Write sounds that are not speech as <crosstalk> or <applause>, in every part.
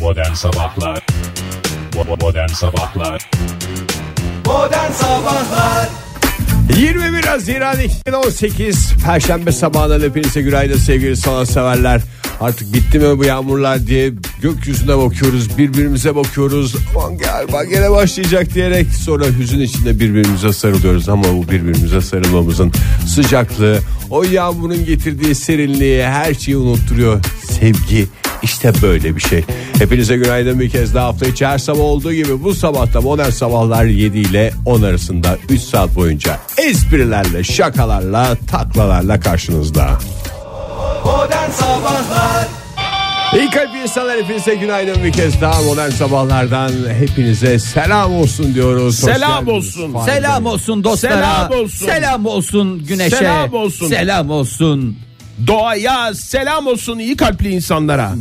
Modern Sabahlar Bo- Modern Sabahlar 21 Haziran 2018 Perşembe sabahından hepinize günaydın sevgili sanatseverler. Artık bitti mi bu yağmurlar diye gökyüzüne bakıyoruz, birbirimize bakıyoruz. Aman galiba gene başlayacak diyerek sonra hüzün içinde birbirimize sarılıyoruz. Ama bu birbirimize sarılmamızın sıcaklığı, o yağmurun getirdiği serinliği her şeyi unutturuyor. Sevgi işte böyle bir şey. Hepinize günaydın bir kez daha hafta içi her sabah olduğu gibi bu sabah da modern sabahlar 7 ile 10 arasında 3 saat boyunca esprilerle, şakalarla, taklalarla karşınızda. İyi kalp insanlar hepinize günaydın bir kez daha modern sabahlardan hepinize selam olsun diyoruz. Hoş Selam geldiniz. olsun. Fahri Selam Bey. olsun dostlara. Selam olsun. Selam olsun güneşe. Selam olsun. Selam olsun. Doğaya selam olsun iyi kalpli insanlara.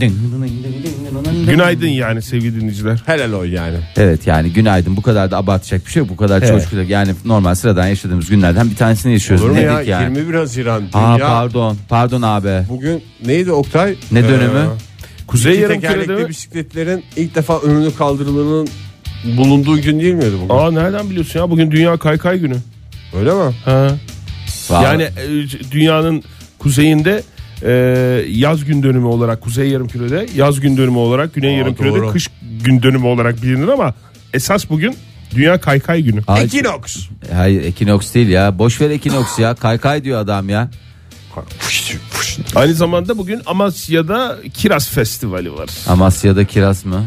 Günaydın yani sevgili dinleyiciler. Helal ol yani. Evet yani günaydın bu kadar da abartacak bir şey yok. Bu kadar coşkulu yani normal sıradan yaşadığımız günlerden bir tanesini yaşıyoruz. Olur mu Nedik ya? yani? 21 Haziran. Aa, Dünya pardon pardon abi. Bugün neydi Oktay? Ne Ee, dönemi? Kuzey İki yarımkürede tekerlekli mi? bisikletlerin ilk defa önünü kaldırılanın bulunduğu gün değil miydi bugün? Aa nereden biliyorsun ya bugün dünya kaykay günü. Öyle mi? Ha. Vallahi. Yani e, dünyanın kuzeyinde e, yaz gün dönümü olarak kuzey yarımkürede yaz gün dönümü olarak güney Aa, yarımkürede doğru. kış gün dönümü olarak bilinir ama esas bugün dünya kaykay günü. Ay, Ekinoks. Hayır Ekinoks değil ya. Boş ver Ekinoks ya. Kaykay diyor adam ya. Aynı zamanda bugün Amasya'da Kiraz Festivali var. Amasya'da kiraz mı?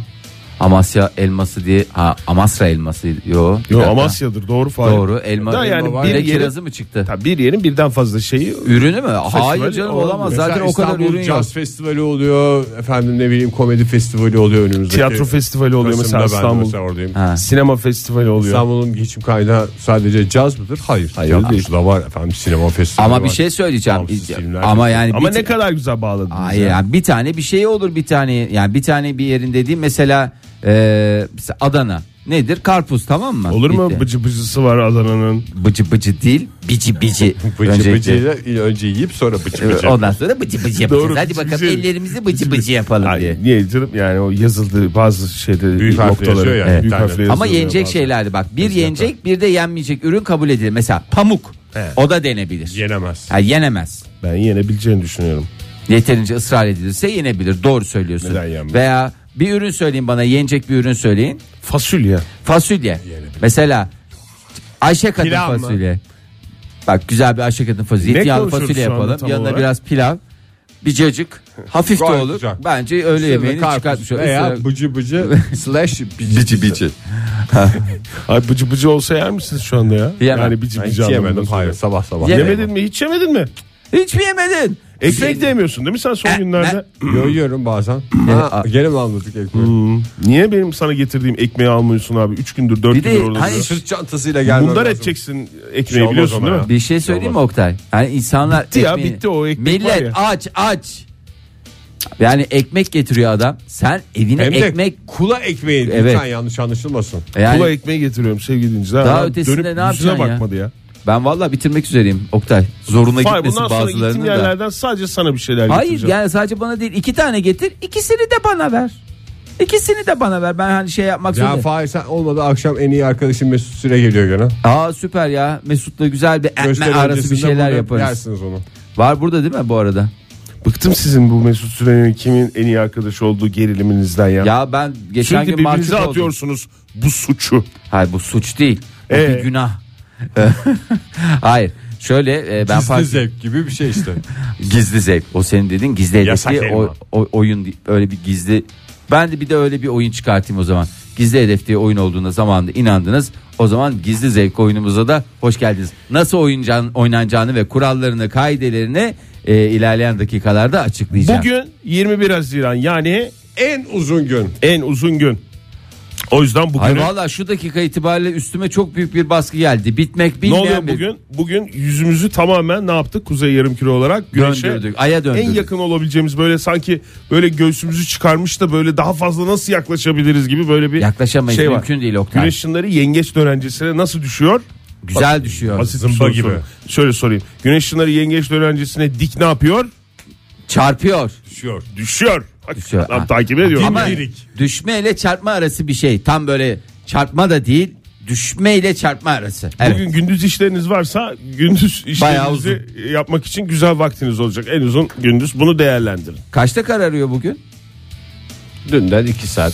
Amasya elması diye. Ha Amasra elması. Yo. bir Yo, dakika. Amasya'dır doğru falan. Doğru elma. Da yani elma var. bir Ne yeri- kirazı mı çıktı? Tabii bir yerin birden fazla şeyi Ürünü mü? Hayır canım olamaz. olamaz. Mesela Zaten o kadar İstanbul ürün yok. Caz Festivali oluyor. Efendim ne bileyim komedi festivali oluyor önümüzdeki. tiyatro festivali oluyor Kasım'da mesela ben İstanbul. mesela oradayım. Ha. Sinema festivali oluyor. İstanbul'un geçim kaynağı sadece caz mıdır? Hayır. Hayır Tiyatro da var efendim sinema festivali Ama var. bir şey söyleyeceğim. Bağımsız filmler Ama yani Ama bir ne kadar güzel bağladın. Hayır yani bir tane bir şey olur bir tane yani bir tane bir yerin dediğim mesela e, mesela Adana nedir karpuz tamam mı? Olur mu? Bitti. Bıcı bıcısı var Adana'nın. Bıcı bıcı değil <laughs> bici bici. Bıcı Öncelikle. bıcıyla önce yiyip sonra bıcı Evet, bıcı. Ondan sonra bıcı bıcı yapacağız. Doğru, Hadi bıcı bakalım bıcı. ellerimizi bıcı bıcı yapalım diye. Ay, niye canım? Yani o yazıldığı bazı şeyde Büyük harfle noktaları. yazıyor yani, Evet. bir Büyük tane. harfle Ama yazılıyor yenecek bazı. şeylerdi bak. Bir yenecek bir de yenmeyecek ürün kabul edilir. Mesela pamuk o da denebilir. Yenemez. Ha, yenemez. Ben yenebileceğini düşünüyorum. Yeterince ısrar edilirse yenebilir. Doğru söylüyorsun. Neden yenmez? Veya bir ürün söyleyin bana yenecek bir ürün söyleyin. Fasulye. Fasulye. Mesela Ayşe kadın Pilav mı? fasulye. Bak güzel bir Ayşe kadın fasulye. Ne Zeytinyağlı konuşuyoruz fasulye şu anda yapalım. tam Yanına olarak? biraz pilav. Bir cacık. Hafif de Gayet olur. güzel. Bence öğle yemeğini çıkartmış olur. Veya Üstüne- bıcı bıcı slash bici bici. Ay bıcı bıcı olsa yer misiniz şu anda ya? Yemem. Yani bıcı Ben bıcı hiç anlamında yemedim. Hayır söylüyorum. sabah sabah. Yemedim. Yemedin mi? Hiç yemedin mi? Hiç mi yemedin? Ekmek de yemiyorsun değil mi sen son Ben- günlerde? Yo yiyorum bazen. Ha, gene mi anladık ekmeği? Hmm. Niye benim sana getirdiğim ekmeği almıyorsun abi? 3 gündür 4 Bir de gündür orada. hani duruyor. Sırt çantasıyla gelmem Bunlar lazım. edeceksin Şey ekmeği olmaz biliyorsun ama değil mi? ya. Bir şey söyleyeyim mi Oktay? Yani insanlar Bitti ya, bitti o ekmek var Millet ya. aç aç. Yani ekmek getiriyor adam. Sen evine Hem de ekmek kula ekmeği Evet. lütfen yanlış anlaşılmasın. yani Kula ekmeği getiriyorum sevgili dinleyiciler. Daha Adam ötesinde dönüp ne yüzüne yapacaksın ya? bakmadı ya. ben vallahi bitirmek üzereyim Oktay. Zoruna Fahir, gitmesin bundan sonra bazılarının gittiğim da. yerlerden sadece sana bir şeyler Hayır getireceğim. yani sadece bana değil iki tane getir ikisini de bana ver. İkisini de bana ver ben hani şey yapmak Ya zorunda. Fahir sen olmadı akşam en iyi arkadaşım Mesut Süre geliyor gene. Aa süper ya Mesut'la güzel bir ekme Gösteri arası bir öncesinde şeyler bunu yaparız. Yersiniz onu. Var burada değil mi bu arada? Bıktım sizin bu Mesut Süren'in kimin en iyi arkadaş olduğu geriliminizden ya. Ya ben geçen Sürekli gün mahcup birbirinize oldum. atıyorsunuz bu suçu. Hayır bu suç değil. Bu Ee? bir günah. <laughs> Hayır. Şöyle e, ben Gizli fark- zevk gibi bir şey <laughs> işte. gizli zevk. O senin dediğin gizli Yasak hedefli elma. o, o- oyun değil. öyle bir gizli. Ben de bir de öyle bir oyun çıkartayım o zaman. Gizli hedef diye oyun olduğuna zamanında inandınız. O zaman gizli zevk oyunumuza da hoş geldiniz. Nasıl oynayacağını, oynanacağını ve kurallarını, kaidelerini e, ilerleyen dakikalarda açıklayacağım. Bugün 21 Haziran yani en uzun gün. en uzun gün. O yüzden Hayır bugün valla şu dakika itibariyle üstüme çok büyük bir baskı geldi. Bitmek ne bilmeyen oluyor bir- bugün? Bugün yüzümüzü tamamen ne yaptık? Kuzey yarımküre olarak güneşe Döndürdük. Ay'a döndürdük. en yakın olabileceğimiz böyle sanki böyle göğsümüzü çıkarmış da böyle daha fazla nasıl yaklaşabiliriz gibi böyle bir Yaklaşamayız şey var. mümkün değil Oktay. Güneş ışınları yengeç dönencesine nasıl düşüyor? Güzel düşüyor. Basit bir Zımba soru gibi. sorayım. Şöyle sorayım. Güneş ışınları yengeç dönencesine dik ne yapıyor? Çarpıyor. Düşüyor. Düşüyor. Düşüyor. Adam Ha. takip ediyor. Ama düşme ile çarpma arası bir şey. Tam böyle çarpma da değil. Düşme ile çarpma arası. Evet. Bugün gündüz işleriniz varsa gündüz Bayağı işlerinizi yapmak için güzel vaktiniz olacak. En uzun gündüz bunu değerlendirin. Kaçta kararıyor bugün? Dünden 2 saat.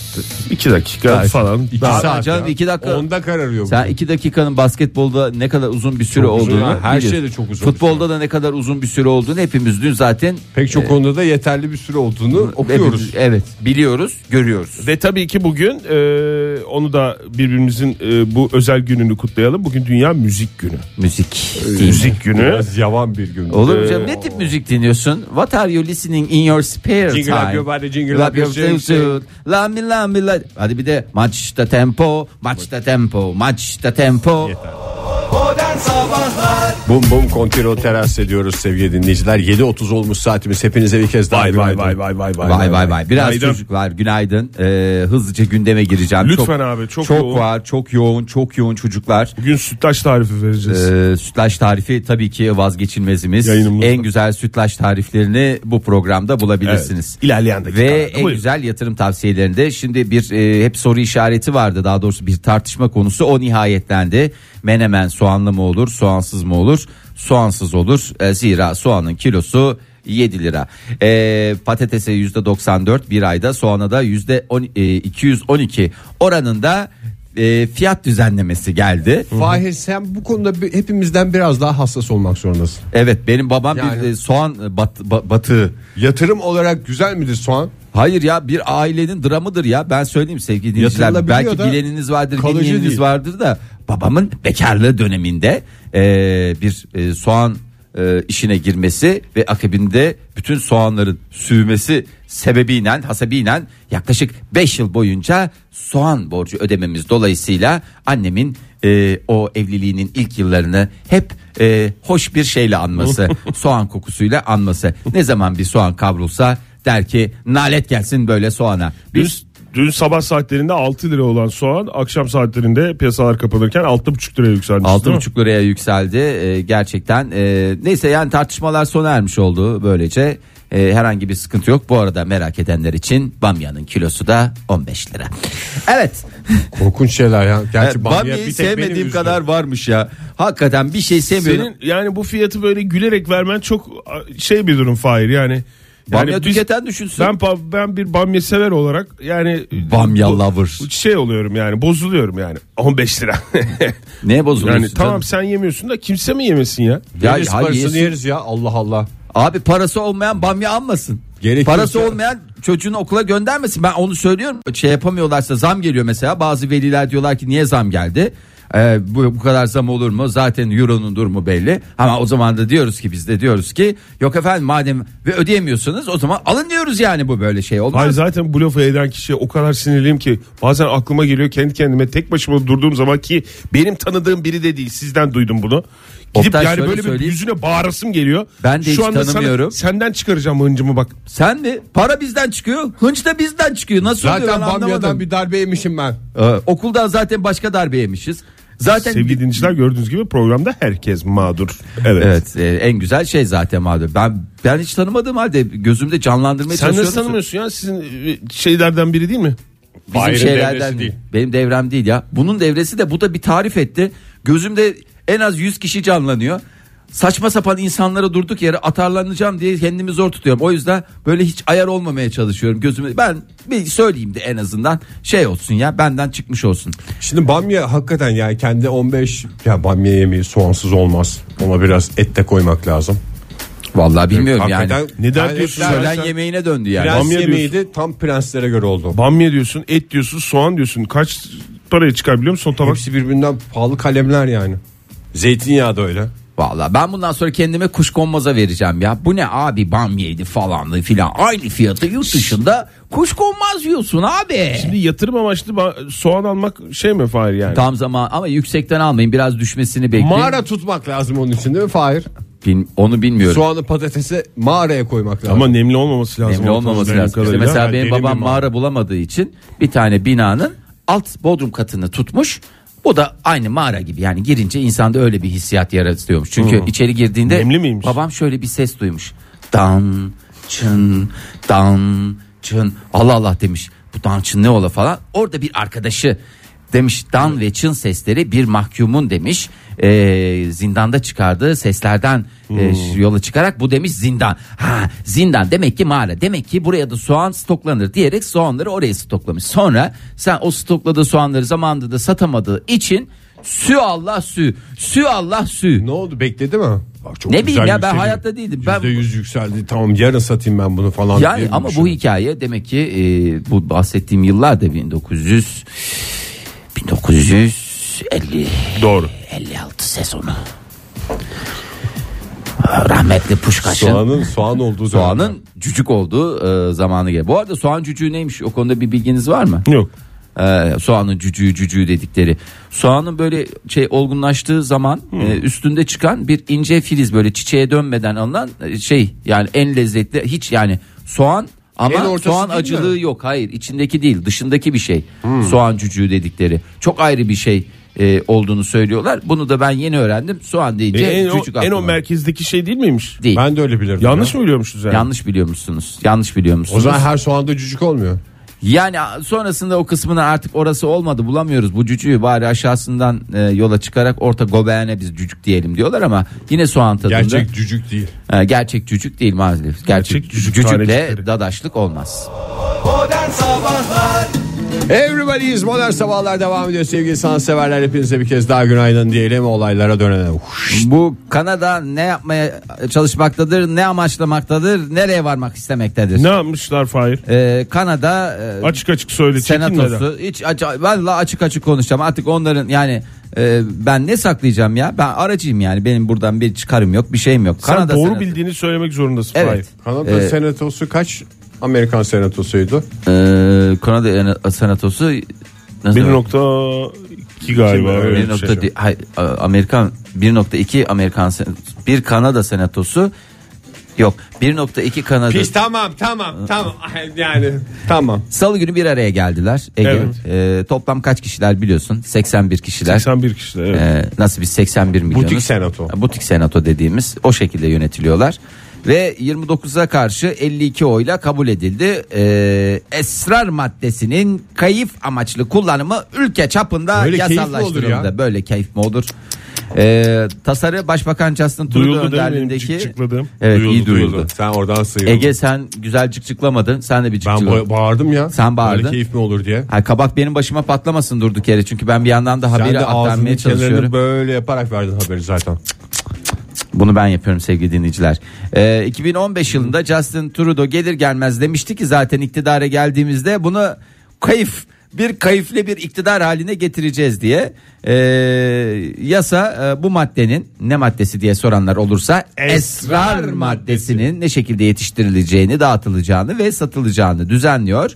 2 dakika Daha- falan. Daha Daha- saat canım ya. iki dakika. Onda kararıyor. Sen iki dakikanın basketbolda ne kadar uzun bir süre Çok uzun olduğunu ha. Her biliyorsun. şeyde çok uzun bir Futbolda da ne kadar uzun bir süre olduğunu hepimiz dün zaten Pek Ee, çok e, konuda da yeterli bir süre olduğunu hepimiz- okuyoruz. evet biliyoruz görüyoruz. Ve tabii ki bugün e, onu da birbirimizin e, bu özel gününü kutlayalım. Bugün Dünya Müzik Günü. Müzik. değil mi? Müzik Günü. Biraz yavan bir gün. Olur mu canım? Ne tip müzik dinliyorsun? What are you listening in your spare Jingle up your time? body, jingle Love up your yourself sing. too. Lami lami la- Hadi bir de maçta tempo, maçta tempo, maçta tempo. Bum bum kontiro teras ediyoruz sevgili dinleyiciler. 7.30 olmuş saatimiz. Hepinize bir kez daha Vay vay vay günaydın. vay vay vay. Vay vay vay. Biraz Günaydın. çocuk var. Günaydın. Ee, hızlıca gündeme gireceğim. Lütfen abi, çok yoğun. var, çok yoğun, çok yoğun çocuklar. Bugün sütlaç tarifi vereceğiz. Ee, sütlaç tarifi tabii ki vazgeçilmezimiz. Yayınımızda. En güzel sütlaç tariflerini bu programda bulabilirsiniz. Evet, ilerleyen dakikalarda. Ve en Buyurun. güzel yatırım tavsiyelerinde şimdi bir e, hep soru işareti vardı. Daha doğrusu bir tartışma konusu o nihayetlendi. Menemen soğanlı mı olur, soğansız mı olur? Soğansız olur. E, zira soğanın kilosu 7 lira. E, patatese %94 bir ayda soğana da %10, e, 212 oranında e, fiyat düzenlemesi geldi. Fahir sen bu konuda bir- hepimizden biraz daha hassas olmak zorundasın. Evet benim babam bir Yani- e, soğan bat, ba- batığı. Yatırım olarak güzel midir soğan? Hayır ya bir ailenin dramıdır ya ben söyleyeyim sevgili dinleyiciler. Yatırılabiliyor Belki da bileniniz vardır kalıcı bilmeyeniniz değil. vardır da babamın bekarlığı döneminde e, bir e, soğan e, işine girmesi ve akabinde bütün soğanların sürmesi sebebiyle hasebiyle yaklaşık 5 yıl boyunca soğan borcu ödememiz dolayısıyla annemin e, o evliliğinin ilk yıllarını hep e, hoş bir şeyle anması soğan kokusuyla anması ne zaman bir soğan kavrulsa der ki nalet gelsin böyle soğana Dün, bir dün sabah saatlerinde 6 lira olan soğan akşam saatlerinde piyasalar kapanırken 6,5 liraya yükselmiş. Altı buçuk liraya yükseldi Ee, gerçekten. e, neyse yani tartışmalar sona ermiş oldu böylece. E, herhangi bir sıkıntı yok. Bu arada merak edenler için bamyanın kilosu da 15 lira. Evet. Korkunç şeyler ya. Gerçi evet bamya bamyayı bir tek benim sevmediğim yüzümden. kadar varmış ya. Hakikaten bir şey sevmiyorum. Senin yani bu fiyatı böyle gülerek vermen çok a, şey bir durum Fahir yani. bamya Yani biz- tüketen düşünsün. ben pa- ben bir bamya sever olarak yani Bamya bu- lover. şey oluyorum yani bozuluyorum yani 15 <laughs> lira. Neye bozuluyorsun? yani canım? tamam sen yemiyorsun da kimse mi yemesin ya? Ya, Deniz hayır, parasını yesin. yeriz ya Allah Allah. Abi parası olmayan bamya almasın. Gerekiyorsa- Parası olmayan çocuğunu okula göndermesin. Ben onu söylüyorum. Şey yapamıyorlarsa zam geliyor mesela. Bazı veliler diyorlar ki niye zam geldi? Ee, bu, bu kadar zam olur mu? Zaten euronun durumu belli. Ama o zaman da diyoruz ki biz de diyoruz ki yok efendim madem ve ödeyemiyorsunuz o zaman alın diyoruz yani bu böyle şey olmaz. Hayır zaten bu lafı eden kişiye o kadar sinirliyim ki bazen aklıma geliyor kendi kendime tek başıma durduğum zaman ki benim tanıdığım biri de değil sizden duydum bunu. Gidip Oktay, yani şöyle böyle bir söyleyeyim. yüzüne bağırasım geliyor. Ben de hiç sana- tanımıyorum. senden çıkaracağım hıncımı bak. Sen mi? Para bizden çıkıyor. Hınç da bizden çıkıyor. Nasıl oluyor Zaten ben bamyadan anlamadım. bir darbe yemişim ben. Ee, okuldan zaten başka darbe yemişiz. Zaten Sevgili dinleyiciler gördüğünüz gibi programda herkes mağdur. Evet. Evet e, en güzel şey zaten mağdur. Ben ben hiç tanımadığım halde gözümde canlandırmaya Sen çalışıyorum. nasıl tanımıyorsun ya sizin e, şeylerden biri değil mi? Bizim Fahir'in şeylerden devresi değil. Benim devrem değil ya. Bunun devresi de bu da bir tarif etti. Gözümde en az 100 kişi canlanıyor. Saçma sapan insanlara durduk yere atarlanacağım diye kendimi zor tutuyorum. O yüzden böyle hiç ayar olmamaya çalışıyorum gözüme. Ben bir söyleyeyim de en azından şey olsun ya benden çıkmış olsun. Şimdi bamya hakikaten yani kendi 15 ya bamya yemeği soğansız olmaz. Ona biraz et de koymak lazım. Vallahi bilmiyorum yani. Hakikaten Neden yani diyorsun etler- Öğlen yemeğine döndü yani. Prens Bamya yemeği de tam prenslere göre oldu. Bamya diyorsun, et diyorsun, soğan diyorsun. Kaç paraya çıkar biliyor musun o tabak? Hepsi birbirinden pahalı kalemler yani. Zeytinyağı da öyle. Valla ben bundan sonra kendime kuşkonmaza vereceğim ya. Bu ne abi bamyeydi falanlı filan. Aynı fiyatı yurt dışında kuşkonmaz yiyorsun abi. Şimdi yatırım amaçlı ba- soğan almak şey mi Fahir yani? Tam zaman ama yüksekten almayın biraz düşmesini bekleyin. Mağara tutmak lazım onun için değil mi Fahir? Bil- onu bilmiyorum. Soğanı patatesi mağaraya koymak lazım. Ama nemli olmaması lazım. Nemli ortamın olmaması benim lazım. İşte kadarıyla. mesela Ha, benim derin bir babam mağara bulamadığı için bir tane binanın alt bodrum katını tutmuş. Bu da aynı mağara gibi yani girince insanda öyle bir hissiyat yaratıyormuş. Çünkü içeri girdiğinde Nemli miymiş? babam şöyle bir ses duymuş. Dan çın dan Çın Allah Allah demiş. Bu dan çın ne ola falan. Orada bir arkadaşı demiş dan ve çın sesleri bir mahkumun demiş. e, zindanda çıkardığı seslerden e, yola çıkarak bu demiş zindan. Ha zindan demek ki mağara. Demek ki buraya da soğan stoklanır diyerek soğanları oraya stoklamış. Sonra sen o stokladığı soğanları zamanında da satamadığı için sü Allah sü. Sü Allah sü. Ne oldu bekledi mi? Aa, çok Ne bileyim güzel ya ben yükseldi. hayatta değildim. Ben Yüzde yüz yükseldi tamam yarın satayım ben bunu falan. yani diye ama bu düşünüyorum. hikaye demek ki e, bu bahsettiğim yıllarda 1900 1950 Doğru. 56 sezonu. Rahmetli Puşkaş'ın Soğanın soğan olduğu dönem. soğanın cücük olduğu e, zamanı gel. Bu arada soğan cücüğü neymiş? O konuda bir bilginiz var mı? Yok. Ee, soğanın cücüğü cücüğü dedikleri. Soğanın böyle şey olgunlaştığı zaman e, üstünde çıkan bir ince filiz böyle çiçeğe dönmeden alınan e, şey yani en lezzetli hiç yani soğan En ama ortası soğan değil mi? acılığı yok. Hayır içindeki değil dışındaki bir şey. Soğan cücüğü dedikleri. Çok ayrı bir şey e, olduğunu söylüyorlar. Bunu da ben yeni öğrendim. Soğan E, deyince en, o, cücük en o aklıma. merkezdeki şey değil miymiş? Şey, değil. Ben de öyle bilirdim. Yanlış ya. mı biliyormuşuz yani? Yanlış biliyormuşsunuz. Yanlış biliyormuşsunuz. O zaman her soğanda cücük olmuyor. Yani sonrasında o kısmını artık orası olmadı bulamıyoruz. Bu cücüğü bari aşağısından e, yola çıkarak orta gobeğene biz cücük diyelim diyorlar ama yine soğan tadında. Gerçek cücük değil. E, gerçek cücük değil maalesef. Gerçek, Gerçek cücük cücükle tanecikleri. dadaşlık olmaz. Everybody's Modern Sabahlar devam ediyor sevgili sanatseverler. Hepinize bir kez daha günaydın diyelim olaylara dönelim. Bu Kanada ne yapmaya çalışmaktadır, ne amaçlamaktadır, nereye varmak istemektedir? Ne yapmışlar Fahir? E, Kanada e, Açık açık söyle. çekinmeden. senatosu hiç aç, vallahi açık açık konuşacağım artık onların yani e, ben ne saklayacağım ya ben aracıyım yani benim buradan bir çıkarım yok bir şeyim yok. Sen doğru Senatosu- bildiğini söylemek zorundasın Fahir. Evet. Kanada Ee, senatosu kaç? Amerikan senatosuydu. Ee, Kanada en- senatosu nasıl? 1.2 galiba. Kim? öyle bir 1.2 şey. hayır, a- Amerikan 1.2 Amerikan sen- bir Kanada senatosu yok 1.2 Kanada. Biz tamam tamam <laughs> tamam yani tamam. Salı günü bir araya geldiler. Ege. Evet. Ee, toplam kaç kişiler biliyorsun? 81 kişiler. 81 kişiler. Evet. Ee, nasıl biz 81 milyonuz. Butik senato. Butik senato dediğimiz o şekilde yönetiliyorlar. Ve 29'a karşı 52 oyla kabul edildi. Ee, esrar maddesinin kayıp amaçlı kullanımı ülke çapında Böyle keyif mi olur yasallaştırıldı. ya? Böyle keyif mi olur? Ee, tasarı Başbakan Justin Duyuldu değil mi Trudeau benim önderliğindeki... cık cıkladığım? Evet iyi duyuldu. Sen oradan sıyırdın. Ege sen güzel cıkcıklamadın. Sen de bir ben cıkcıkla. ba- bağırdım ya. Sen bağırdın. Böyle keyif mi olur diye. Ha, kabak benim başıma patlamasın durduk yere. Çünkü ben bir yandan da Sen haberi de ağzının aktarmaya çalışıyorum. kenarını böyle yaparak verdin haberi zaten. Bunu ben yapıyorum sevgili dinleyiciler. Ee, 2015 yılında Justin Trudeau gelir gelmez demişti ki zaten iktidara geldiğimizde bunu kayıf bir kayıflı bir iktidar haline getireceğiz diye. Ee, yasa e, bu maddenin ne maddesi diye soranlar olursa esrar, maddesinin ne şekilde yetiştirileceğini, dağıtılacağını ve satılacağını düzenliyor.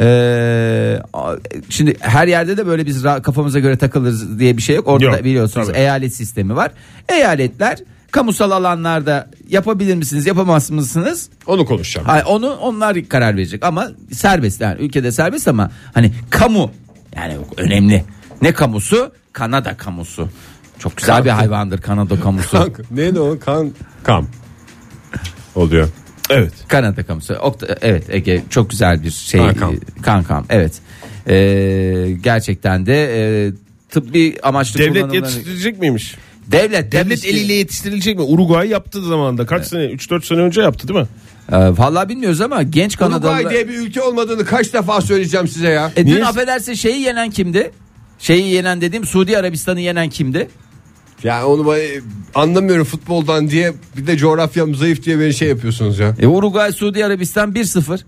Ee, a- şimdi her yerde de böyle biz ra- kafamıza göre takılırız diye bir şey yok. Orada Yok, da biliyorsunuz tabii. eyalet sistemi var. Eyaletler kamusal alanlarda yapabilir misiniz yapamaz mısınız? Onu konuşacağım. Hayır, onu onlar karar verecek ama serbest yani ülkede serbest ama hani kamu yani önemli. Ne kamusu? Kanada kamusu. Çok güzel bir hayvandır Kanada <laughs> kamusu. Kank, neydi o? Kan, kam. Oluyor. evet. Kanada kamusu. Okta- evet Ege çok güzel bir şey. Kankam. Kankam, evet. Ee, gerçekten de e, tıbbi amaçlı Devlet kullanımları- yetiştirecek miymiş? Devlet, Devlet eliyle yetiştirilecek mi? Uruguay yaptı zamanında. Kaç sene? 3-4 sene önce yaptı değil mi? Ee, vallahi bilmiyoruz ama genç Uruguay Kanadalılar. diye bir ülke olmadığını kaç defa söyleyeceğim size ya. E, dün Niye- affedersin şeyi yenen kimdi? Şeyi yenen dediğim Suudi Arabistan'ı yenen kimdi? Yani onu ben- anlamıyorum futboldan diye bir de coğrafyam zayıf diye beni şey yapıyorsunuz ya. E, Uruguay Suudi Arabistan 1-0.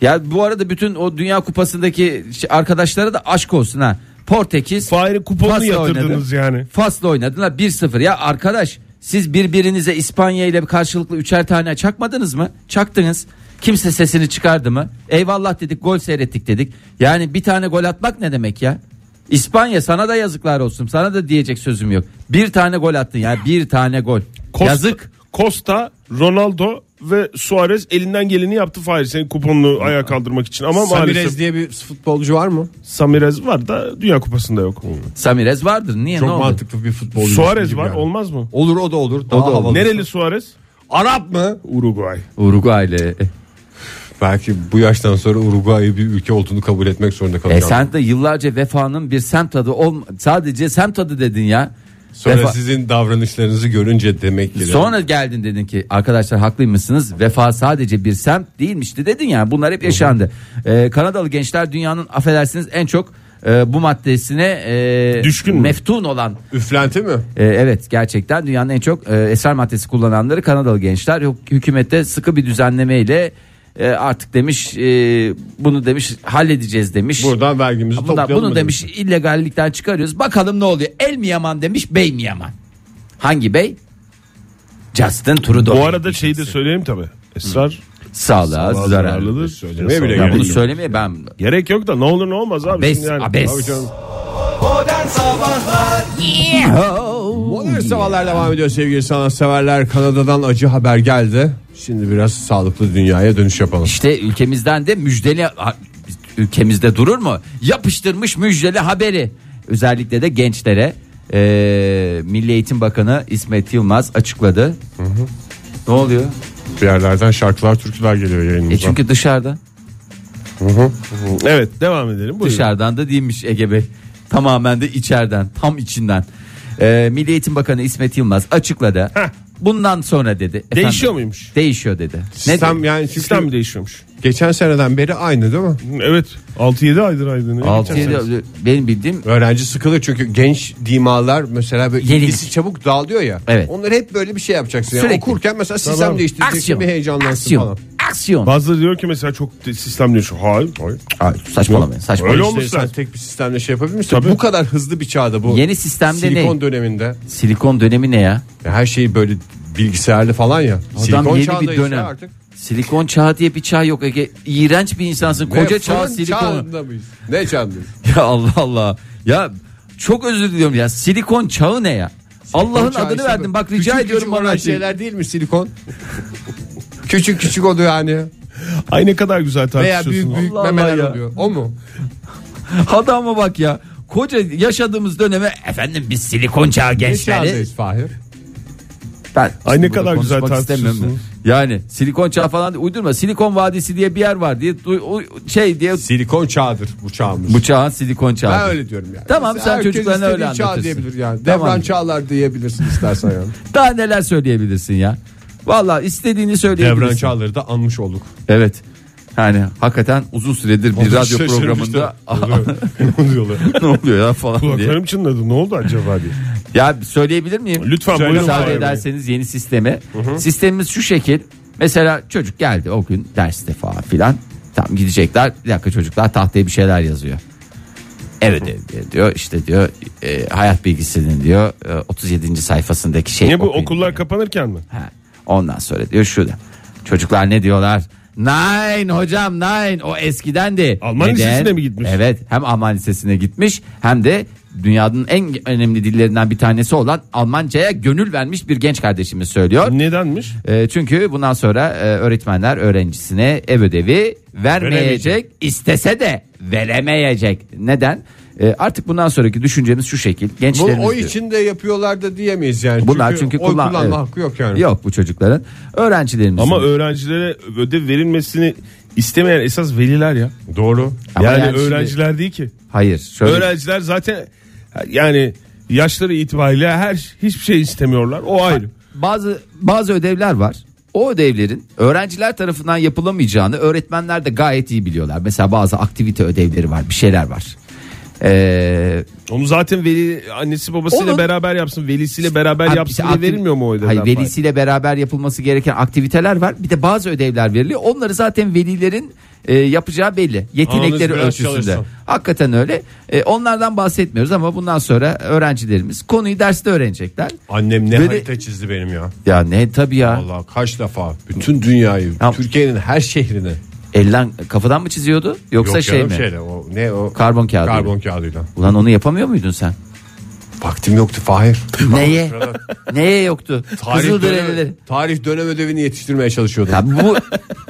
Ya bu arada bütün o Dünya Kupası'ndaki şey- arkadaşlara da aşk olsun ha. Portekiz Fahri kuponunu Fas'la yatırdınız yani. Fas'la oynadılar 1-0. Ya arkadaş siz birbirinize İspanya ile karşılıklı üçer tane çakmadınız mı? Çaktınız. Kimse sesini çıkardı mı? Eyvallah dedik gol seyrettik dedik. Yani bir tane gol atmak ne demek ya? İspanya sana da yazıklar olsun. Sana da diyecek sözüm yok. Bir tane gol attın ya bir tane gol. Costa- Yazık. Costa, Ronaldo ve Suarez elinden geleni yaptı Fahir senin kuponunu ayağa kaldırmak için. Ama Samirez maalesef diye bir futbolcu var mı? Samirez var da Dünya Kupası'nda yok. Samirez vardır. Niye Çok ne oldu? mantıklı bir futbolcu. Suarez gibi var yani. olmaz mı? Olur o da olur. Daha <laughs> şey. da olur. havalı. Nereli Suarez? Arap mı? Eh, Uruguay. Uruguaylı. Belki bu yaştan sonra Uruguay'ı bir ülke olduğunu kabul etmek zorunda E kalacağım. sen de yıllarca vefanın bir semt adı olma sadece semt adı dedin ya. sonra Vefa- sizin davranışlarınızı görünce demek ki. Sonra geldin dedin ki arkadaşlar haklıymışsınız vefa sadece bir semt değilmişti dedin ya bunlar hep yaşandı. Ee, Kanadalı gençler dünyanın affedersiniz en çok e, bu maddesine e, Düşkün mü? meftun olan Üflenti mi? e, evet gerçekten dünyanın en çok e, esrar maddesi kullananları Kanadalı gençler Hük- hükümette sıkı bir düzenlemeyle e, artık demiş e, bunu demiş halledeceğiz demiş. Buradan vergimizi Bunlar toplayalım bunu mı demiş illegallikten çıkarıyoruz. Bakalım ne oluyor? El mi yaman demiş, bey mi yaman? Hangi bey? Justin Trudeau. Bu arada şeyi de söyleyeyim tabii. Esrar sağlığa bazı zararlı. zararlıdır. Söylemeye bile Yasak. Ya gerek bunu yok. söylemeye ben Gerek yok da ne olur ne olmaz abi. Abes, Şimdi yani- abes. Abi canım. Modern sabahlar devam ediyor sevgili sanatseverler. Kanada'dan acı haber geldi. Şimdi biraz sağlıklı dünyaya dönüş yapalım. işte ülkemizden de müjdeli ha- ülkemizde durur mu? Yapıştırmış müjdeli haberi. Özellikle de gençlere Ee, Milli Eğitim Bakanı İsmet Yılmaz açıkladı. Ne oluyor? Bir yerlerden şarkılar türküler geliyor yayınımıza. E çünkü dışarıda. Evet devam edelim. Buyurun. Dışarıdan da değilmiş Ege Bey. Tamamen de içeriden, tam içinden. Ee, Milli Eğitim Bakanı İsmet Yılmaz açıkladı. Heh. Bundan sonra dedi. Efendim, Değişiyor muymuş? Değişiyor dedi. Sistem yani çünkü Sistem mi değişiyormuş? geçen seneden beri aynı değil mi? Evet. 6-7 aydır aydın. 6 yıl benim bildiğim Öğrenci sıkılır çünkü genç dimalar mesela böyle Yenilik. ilgisi çabuk dağılıyor ya. Evet. Onları hep böyle bir şey yapacaksın. Yani Sürekli. okurken mesela sistem Tamam. değiştireceksin aksiyon. bir heyecanlansın aksiyon. falan. Aksiyon. Bazıları diyor ki mesela çok de- sistem değişiyor. Hayır. hayır. Ay, saçmalamayın. Saçmalamayın. Öyle İşte olmuş sen zaten. tek bir sistemle şey yapabilir misin? Tabii. Bu kadar hızlı bir çağda bu. Yeni sistemde ne? Silikon döneminde. Silikon dönemi ne ya? Ya her şeyi böyle bilgisayarlı falan ya. Adam Silikon yeni çağındayız bir ya dönem. artık. Silikon çağı diye bir çağ yok Ege. İğrenç bir insansın. Koca Ne, çağ fırın silikon. çağında mıyız? Ne çağındayız? <laughs> Ya Allah Allah. Ya çok özür diliyorum ya. Silikon çağı ne ya? Allah'ın Çağ adını işte verdim. bu. Bak rica Küçük şey. küçük ediyorum olan bana. şeyler değil mi silikon? <laughs> küçük küçük oluyor hani. Ay ne kadar güzel Veya büyük tartışıyorsunuz. büyük Allah Allah memeler ya. oluyor. O mu? <laughs> Adama bak ya. Koca yaşadığımız döneme efendim biz silikon çağı Ne gençleri. çağındayız Fahir? Ben Ay ne Bunu kadar güzel konuşmak istemiyorum tartışıyorsun. ben. Yani silikon çağı falan diye uydurma. Silikon vadisi diye bir yer var diye du- o- şey diye Silikon çağıdır bu çağımız. bu çağın silikon çağı. Ben öyle diyorum yani. Tamam, sen herkes çocuklarına istediği öyle anlatırsın. Çağ diyebilir yani. Tamam. Devran çağlar diyebilirsin istersen yani. Daha neler söyleyebilirsin ya. Valla istediğini söyleyebilirsin. Devran çağları da anmış olduk. Evet. Yani hakikaten uzun süredir bir <laughs> radyo programında <laughs> oluyorlar? <laughs> ne oluyor ya falan diye. Kulaklarım çınladı. Ne oldu acaba <laughs> diye. Ya söyleyebilir miyim? Lütfen, Söyle, buyurun. Müsaade Hayır, ederseniz yeni sistemi. Sistemimiz şu şekil. Mesela çocuk geldi o gün derste falan filan. Tam gidecekler. Bir dakika çocuklar tahtaya bir şeyler yazıyor. Evet evet, diyor işte diyor e, hayat bilgisinin diyor e, 37. sayfasındaki şey. Ne bu okuyun okullar diyor. kapanırken mi? Ha, Ondan sonra diyor şurada. Çocuklar ne diyorlar? Nine hocam nine o eskidendi. Alman lisesine mi gitmiş? Evet hem Alman lisesine gitmiş hem de dünyanın en önemli dillerinden bir tanesi olan Almanca'ya gönül vermiş bir genç kardeşimiz söylüyor. Nedenmiş? E, çünkü bundan sonra e, öğretmenler öğrencisine ev ödevi vermeyecek, Veremeyecek. istese de veremeyecek. Neden? E, artık bundan sonraki düşüncemiz şu şekil. Bu Gençlerimiz o diyor. için de yapıyorlar da diyemeyiz yani. Bunlar çünkü, oy kullan- kullanma evet. hakkı yok yani. Yok bu çocukların. Öğrencilerimizin. Ama öğrencilere ödev verilmesini istemeyen esas veliler ya. Doğru. Ama yani, yani şimdi- öğrenciler değil ki. Hayır. Şöyle Öğrenciler zaten yani yaşları itibariyle her hiçbir şey istemiyorlar. O ayrı. bazı bazı ödevler var. O ödevlerin öğrenciler tarafından yapılamayacağını öğretmenler de gayet iyi biliyorlar. Mesela bazı aktivite ödevleri var, bir şeyler var. Ee, Onu zaten veli annesi babasıyla Onun- beraber yapsın, velisiyle beraber Abi yapsın bize diye aktiv- verilmiyor mu o ödevler? Hayır velisiyle beraber yapılması gereken aktiviteler var. Bir de bazı ödevler veriliyor. Onları zaten velilerin e, yapacağı belli. Ağanız Yetenekleri biraz ölçüsünde. çalışsın. Hakikaten öyle. E, onlardan bahsetmiyoruz ama bundan sonra öğrencilerimiz konuyu derste öğrenecekler. Annem ne Böyle- harita çizdi benim ya. Ya ne tabii ya. Allah kaç defa bütün dünyayı, Tamam. Türkiye'nin her şehrini. Elden kafadan mı çiziyordu yoksa Yok şey canım mi? Şeyle, o, ne o? Karbon kağıdıyla. Karbon kağıdıyla. Ulan onu yapamıyor muydun sen? Vaktim yoktu Fahir. Neye? Neye yoktu? tarih, Kızılderilileri. dönem, tarih dönem ödevini yetiştirmeye çalışıyordum. Ya bu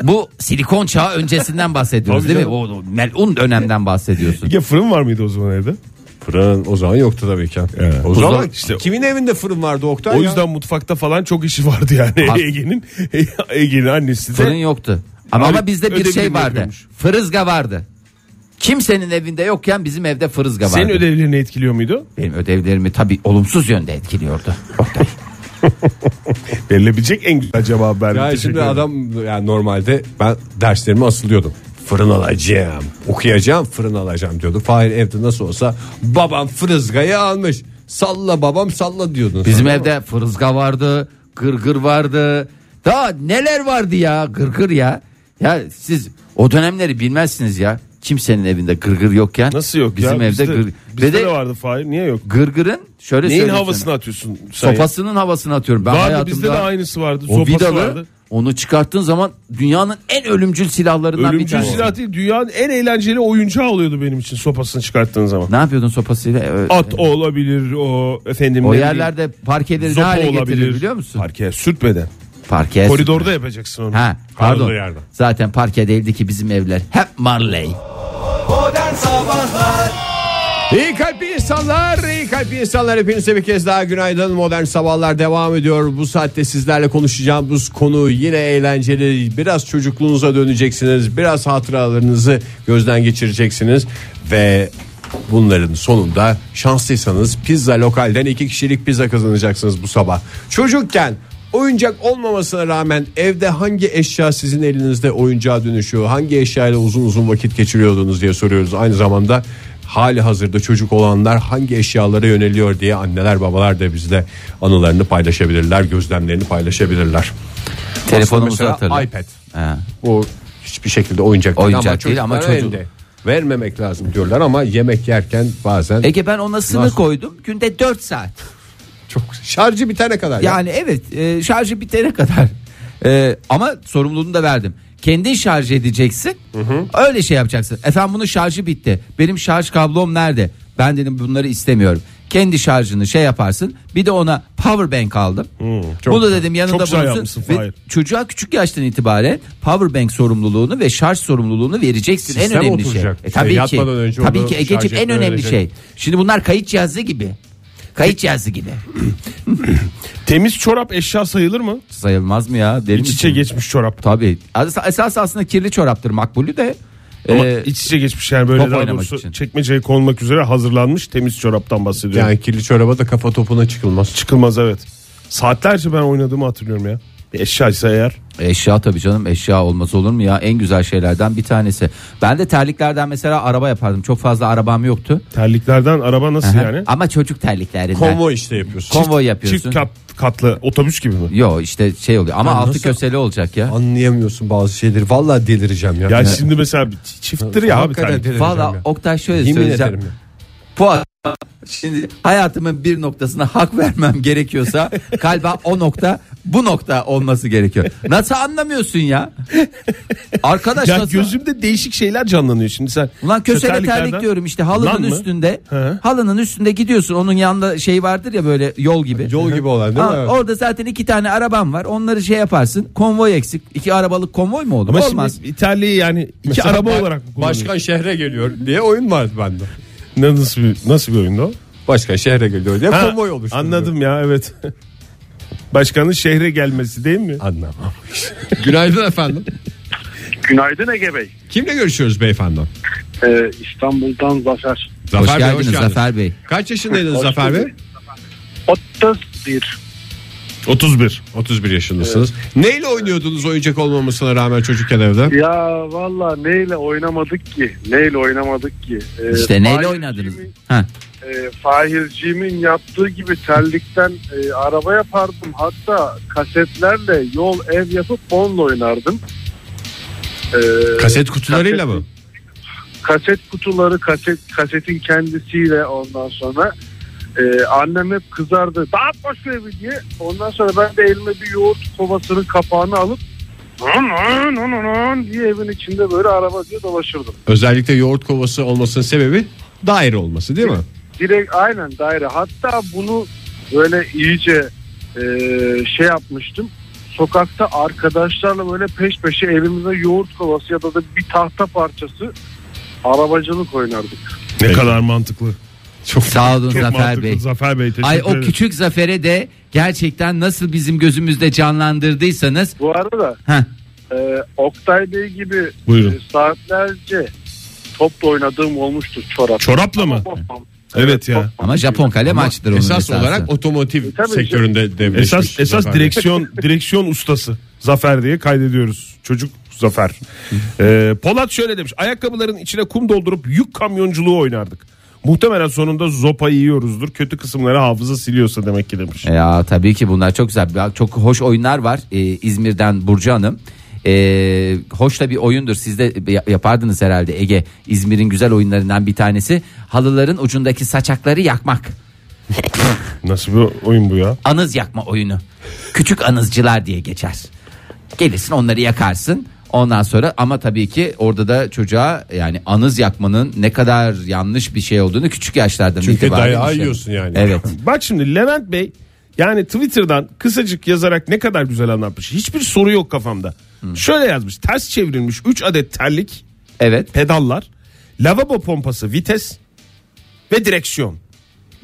bu silikon çağı öncesinden bahsediyoruz Tabii değil mi? O melun dönemden bahsediyorsun. Ya fırın var mıydı o zaman evde? Fırın o zaman yoktu tabii ki. O zaman zaman işte- kimin evinde fırın vardı Oktay O ya? yüzden mutfakta falan çok işi vardı yani Abi- <laughs> Ege'nin. Ege'nin annesi de. Fırın yoktu. Ama, Abi, ama bizde bir ödevini şey mi vardı. yapıyormuş? Fırızga vardı. Kimsenin evinde yokken bizim evde fırızga vardı. Senin ödevlerini etkiliyor muydu? Benim ödevlerimi tabii olumsuz yönde etkiliyordu. Oktay. Verilebilecek en güzel cevabı verdim. Ya Teşekkür şimdi ederim. adam yani normalde ben derslerime asılıyordum. Fırın alacağım. Okuyacağım fırın alacağım diyordu. Fahir evde nasıl olsa babam fırızgayı almış. Salla babam salla diyordun. Bizim Sen. evde fırızga vardı, gırgır vardı. Daha neler vardı ya gırgır ya. Ya siz o dönemleri bilmezsiniz ya. Kimsenin evinde gırgır yokken. Nasıl yok bizim ya? evde bizde, gırgır. Bizde Ve de de vardı Fahir niye yok? gırgırın şöyle Neyin söyleyeyim sana. havasını atıyorsun sen? Sopasının havasını atıyorum. Ben Vardı, hayatımda bizde de aynısı vardı. O Sopası vidalı vardı. onu çıkarttığın zaman dünyanın en ölümcül silahlarından bir Ölümcül tanesi. silah değil dünyanın en eğlenceli oyuncağı oluyordu benim için sopasını çıkarttığın zaman. Ne yapıyordun sopasıyla? Ee, At olabilir o efendim. o ne yerlerde parkeleri ne bileyim, hale zopa getirir biliyor musun? Parkeye sürtmeden. Parke. Koridorda yapacaksın onu. Ha pardon. Karlı yerde. Zaten parke değildi ki bizim evler. Hep Marley. İyi kalpli insanlar, iyi kalpli insanlar hepinize bir kez daha günaydın. Modern Sabahlar devam ediyor. Bu saatte sizlerle konuşacağımız konu yine eğlenceli. Biraz çocukluğunuza döneceksiniz. Biraz hatıralarınızı gözden geçireceksiniz. Ve bunların sonunda şanslıysanız pizza lokalden iki kişilik pizza kazanacaksınız bu sabah. Çocukken Oyuncak olmamasına rağmen evde hangi eşya sizin elinizde oyuncağa dönüşüyor? Hangi eşyayla uzun uzun vakit geçiriyordunuz diye soruyoruz. Aynı zamanda hali hazırda çocuk olanlar hangi eşyalara yöneliyor diye anneler babalar da bizle anılarını paylaşabilirler, gözlemlerini paylaşabilirler. Telefonumuzu Aslında mesela hatırla. iPad. Ha. Bu hiçbir şekilde oyuncak, Oyuncak değil ama çocuklara çocuk- elde vermemek lazım diyorlar ama yemek yerken bazen Ege ben ona sınır Nasıl? koydum. Günde 4 saat. çok şarjı bitene kadar. ya. Yani evet e, şarjı bitene kadar. E, ama sorumluluğunu da verdim. Kendin şarj edeceksin. Öyle şey yapacaksın. Efendim bunun şarjı bitti. Benim şarj kablom nerede? Ben dedim bunları istemiyorum. Kendi şarjını şey yaparsın. Bir de ona power bank aldım. çok Bunu güzel. dedim yanında Çok güzel bulunsun. yapmışsın, Ve Fahir. çocuğa küçük yaştan itibaren power bank sorumluluğunu ve şarj sorumlululuğunu vereceksin. Sistem en önemli oturacak. şey. E, tabii Şey, ki. yatmadan önce Tabii onu ki şarj Egeciğim en etmeni önemli öğrenecek. şey. Şimdi bunlar kayıt cihazı gibi. Kayıt cihazı gibi. Temiz çorap eşya sayılır mı? Sayılmaz mı ya? Deli İç içe misin? geçmiş çorap. Tabii. As- Esas aslında kirli çoraptır makbulü de. Ama Ee, iç içe geçmiş yani böyle top daha oynamak doğrusu için. çekmeceye konmak üzere hazırlanmış temiz çoraptan bahsediyorum. Yani kirli çoraba da kafa topuna çıkılmaz. Çıkılmaz evet. Saatlerce ben oynadığımı hatırlıyorum ya. Bir eşyaysa eğer. eşya tabii canım eşya olmaz olur mu ya? En güzel şeylerden bir tanesi. Ben de terliklerden mesela araba yapardım. Çok fazla arabam yoktu. Terliklerden araba nasıl yani? Ama çocuk terliklerinden. Konvoy işte yapıyorsun. Konvoy yapıyorsun. Çift kat- katlı otobüs gibi mi? Yo işte şey oluyor ama Ya altı nasıl- köseli olacak ya. Anlayamıyorsun bazı şeyleri. Vallahi delireceğim ya. Ya şimdi mesela bir ç- çifttir ya abi Hakikaten terlik. delireceğim Valla ya. Oktay şöyle Yemin söyleyeceğim. ederim ya. Bu adama şimdi hayatımın bir noktasına hak vermem gerekiyorsa galiba o nokta bu nokta olması gerekiyor. Nasıl anlamıyorsun ya? Arkadaş Ya nasıl? gözümde değişik şeyler canlanıyor şimdi sen. Ulan kösele terlik terliklerden- diyorum işte halının Lan mı? üstünde. He. Halının üstünde gidiyorsun onun yanında şey vardır ya böyle yol gibi. Yol gibi olan değil mi? Ha, Evet. Orada zaten iki tane araban var. Onları şey yaparsın. Konvoy eksik. İki arabalık konvoy mu olur? Ama Olmaz. şimdi terliği yani iki Mesela araba ben- olarak mı kullanıyorsun? Başkan şehre geliyor diye oyun var bende. Ne- Nasıl bir, nasıl bir oyundu o? Başkan şehre geliyor diye Ha, konvoy oluşturuyor. Anladım ya evet. <laughs> Başkanın şehre gelmesi değil mi? Anlamam. Günaydın efendim. Günaydın Ege Bey. Kimle görüşüyoruz beyefendi? Ee, İstanbul'dan Zafer. hoş geldiniz Zafer Bey. Kaç yaşındaydınız Hoş Zafer Bey? bulduk. 31. 31. 31 yaşındasınız. Neyle oynuyordunuz oyuncak olmamasına rağmen çocukken evde? Ya valla neyle oynamadık ki? Neyle oynamadık ki? Ee, İşte neyle Fahirciğimin- oynadınız? Ha. E, Fahirciğimin yaptığı gibi terlikten e, araba yapardım. Hatta kasetlerle yol ev yapıp onunla oynardım. Ee, Kaset kutularıyla kaset- mı? kaset kutuları kaset kasetin kendisiyle ondan sonra e, annem hep kızardı dağıt boş ver evi" diye ondan sonra ben de elime bir yoğurt kovasının kapağını alıp "Nın, nın, nın, nın" diye evin içinde böyle araba diye dolaşırdım. Özellikle yoğurt kovası olmasının sebebi daire olması değil mi? Direkt aynen daire. Hatta bunu böyle iyice e, şey yapmıştım. Sokakta arkadaşlarla böyle peş peşe elimize yoğurt kovası ya da da bir tahta parçası arabacılık oynardık. Ne kadar mantıklı. Çok sağ olun Çok Zafer mantıklı. Bey. Zafer Bey teşekkür Ay o ederim. küçük zafere de gerçekten nasıl bizim gözümüzde canlandırdıysanız Bu arada ha e, Oktay Bey gibi Buyurun. e, saatlerce topla oynadığım olmuştur çorap. Çorapla mı? Bosman. Evet ya. Ama Japon kalem açtır onun Esas esası. olarak otomotiv E, tabii sektöründe devleşmiş. Esas esas Zafer Bey. direksiyon <laughs> direksiyon ustası Zafer diye kaydediyoruz. Çocuk Zafer. Ee, Polat şöyle demiş. Ayakkabıların içine kum doldurup yük kamyonculuğu oynardık. Muhtemelen sonunda zopa yiyoruzdur. Kötü kısımları hafıza siliyorsa demek ki demiş. Ya tabii ki bunlar çok güzel. Ya, Çok hoş oyunlar var. Ee, İzmir'den Burcu Hanım. Ee, hoş da bir oyundur. Siz de ya- yapardınız herhalde Ege. İzmir'in güzel oyunlarından bir tanesi. Halıların ucundaki saçakları yakmak. Nasıl bir oyun bu ya? Anız yakma oyunu. Küçük anızcılar diye geçer. Gelirsin onları yakarsın. Ondan sonra ama tabii ki orada da çocuğa yani anız yakmanın ne kadar yanlış bir şey olduğunu küçük yaşlardan Çünkü itibaren dayağı düşünüyorum. yiyorsun yani. Evet. Bak şimdi Levent Bey yani Twitter'dan kısacık yazarak ne kadar güzel anlatmış. Hiçbir soru yok kafamda. Şöyle yazmış. Ters çevrilmiş 3 adet terlik, Evet. pedallar, lavabo pompası, vites ve direksiyon.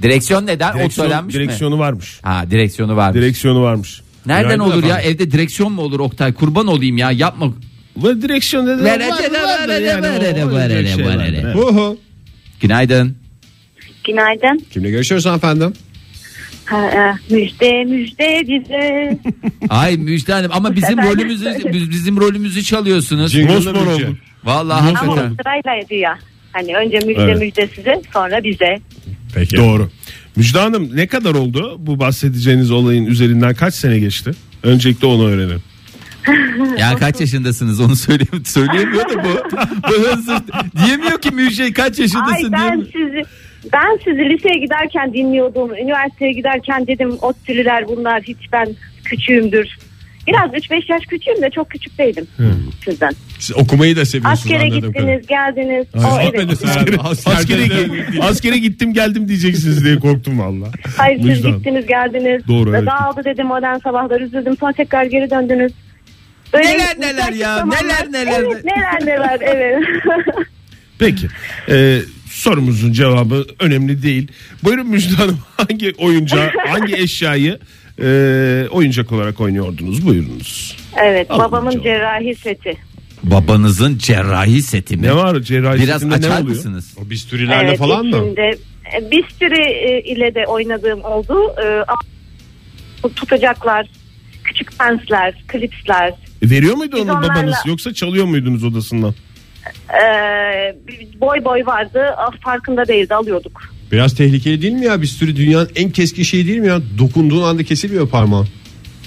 Direksiyon neden? o Direksiyon, söylenmiş mi? direksiyonu varmış. Ha direksiyonu varmış. Direksiyonu varmış. Nereden Günaydın olur ya? efendim. Evde direksiyon mu olur Oktay? Kurban olayım ya. Yapma. Bu direksiyon dedi. Vere- vere- vere- vere- vere- şey vere- vere. Uhu. Günaydın. Günaydın. Kimle görüşüyoruz hanımefendim? Ha, e, müjde müjde bize. Ay Müjde Hanım ama bizim sefer- rolümüzü biz- bizim rolümüzü çalıyorsunuz. Mosmor oldu. Vallahi Ama hakikaten. sıraylaydı ya. Hani önce müjde Evet. müjde size sonra bize. Peki. Doğru. Müjde Hanım ne kadar oldu bu bahsedeceğiniz olayın üzerinden kaç sene geçti? Öncelikle onu öğrenelim. Ya kaç yaşındasınız onu söyleyeyim söyleyemiyor da bu. bu hızlı. Diyemiyor ki Müjde kaç Ay yaşındasın ben diyemiyor. sizi ben sizi liseye giderken dinliyordum. Üniversiteye giderken dedim otçülüler bunlar hiç ben küçüğümdür. Biraz 3-5 yaş küçüğüm de çok küçük değilim sizden. Siz okumayı da seviyorsunuz Askere anladığım kadarıyla. gittiniz, geldiniz. O Siz evet. gitmediniz herhalde. Askerde Askere, de- gi- askere gittim geldim diyeceksiniz diye korktum valla. Hayır siz Müjde Hanım. gittiniz, geldiniz. Doğru, evet. Dağıldı dedim modern sabahlar üzüldüm. Sonra tekrar geri döndünüz. Böyle Neler neler ya, zamanlar- neler neler. Evet, neler neler <laughs> evet. Peki. Ee, sorumuzun cevabı önemli değil. Buyurun Müjde Hanım <laughs> hangi oyuncağı, hangi eşyayı e, oyuncak olarak oynuyordunuz? Buyurunuz. evet Alın babamın canım. cerrahi seti. Babanızın cerrahi seti mi? Ne var cerrahi Biraz setinde ne açar oluyor? mısınız? O bistürilerle Evet, falan mı? içinde, e, Bir sürü e, ile de oynadığım oldu. E, a- Tutacaklar, küçük pensler, klipsler. E, Veriyor muydu Biz onu babanız onlarla- yoksa çalıyor muydunuz odasından? e, boy boy vardı. Ah, Farkında değildi alıyorduk. Biraz tehlikeli değil mi ya? Bistüri dünyanın en keskin şeyi değil mi ya? Dokunduğun anda kesilmiyor parmağın.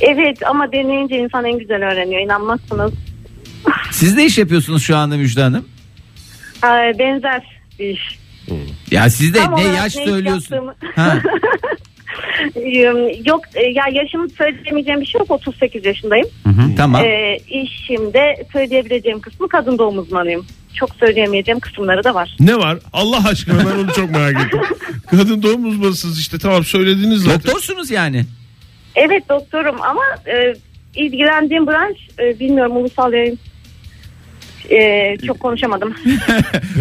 Evet ama deneyince insan en güzel öğreniyor inanmazsınız. Siz ne iş yapıyorsunuz şu anda Müjde Hanım? Ee, benzer bir iş. Ya siz de Tam ne olarak yaş ne iş söylüyorsun? yaptığımı- <laughs> Ha. Ee, yok e, ya yaşımı söyleyemeyeceğim bir şey yok 38 yaşındayım. tamam. <laughs> Ee, işimde söyleyebileceğim kısmı kadın doğum uzmanıyım. Çok söyleyemeyeceğim kısımları da var. Ne var? Allah aşkına ben onu çok merak <laughs> ettim. Kadın doğum uzmanısınız işte tamam söylediniz zaten. Doktorsunuz yani. Evet doktorum ama e, ilgilendiğim branş e, bilmiyorum ulusal yayın. E, <laughs> çok konuşamadım.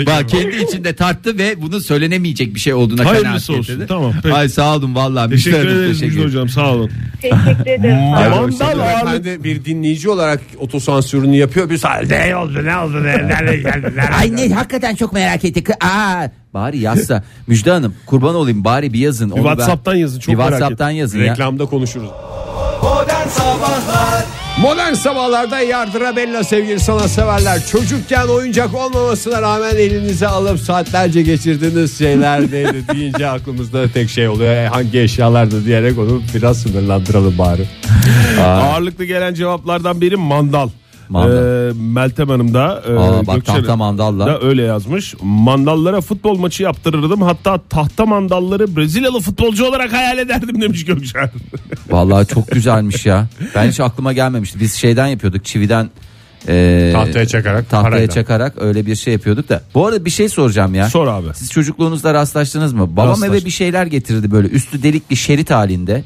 Bak kendi içinde tarttı ve bunu söylenemeyecek bir şey olduğuna Hayırlısı kanaat olsun. getirdi. Tamam, peki. Ay sağ olun vallahi. Müjde Teşekkür Hanım, ederiz Müjde Hocam sağ olun. Teşekkür ederim. Mandal Ben de bir dinleyici olarak otosansürünü yapıyor. Bir saniye. Ne oldu ne oldu nereye geldiler? Ay ne hakikaten çok merak ettik. Aa. Bari <laughs> yazsa. Müjde Hanım kurban olayım bari bir yazın. Onu ben- WhatsApp'tan yazın, çok bir merak WhatsApp'tan yazın ya. Reklamda konuşuruz. Modern Sabahlar Modern Sabahlar'da Yardıra Bella sevgili sana severler. Çocukken oyuncak olmamasına rağmen elinize alıp saatlerce geçirdiğiniz <laughs> şeyler neydi deyince aklımızda tek şey oluyor. E, hangi eşyalardı diyerek onu biraz sınırlandıralım bari. Ağırlıklı gelen cevaplardan biri mandal. Mandal. Ee, Meltem Hanım da e, Aa, bak Gökçen'e tahta mandalla. da öyle yazmış. Mandallara futbol maçı yaptırırdım. Hatta tahta mandalları Brezilyalı futbolcu olarak hayal ederdim demiş Gökçen. Vallahi çok güzelmiş ya. Ben hiç aklıma gelmemişti. Biz şeyden yapıyorduk çividen. e, Tahtaya çakarak, Tahtaya parayla. çakarak öyle bir şey yapıyorduk da. Bu arada bir şey soracağım <laughs> ya. Sor abi. Siz çocukluğunuzda rastlaştınız mı? Babam Rastlaştım. eve bir şeyler getirirdi böyle üstü delikli şerit halinde.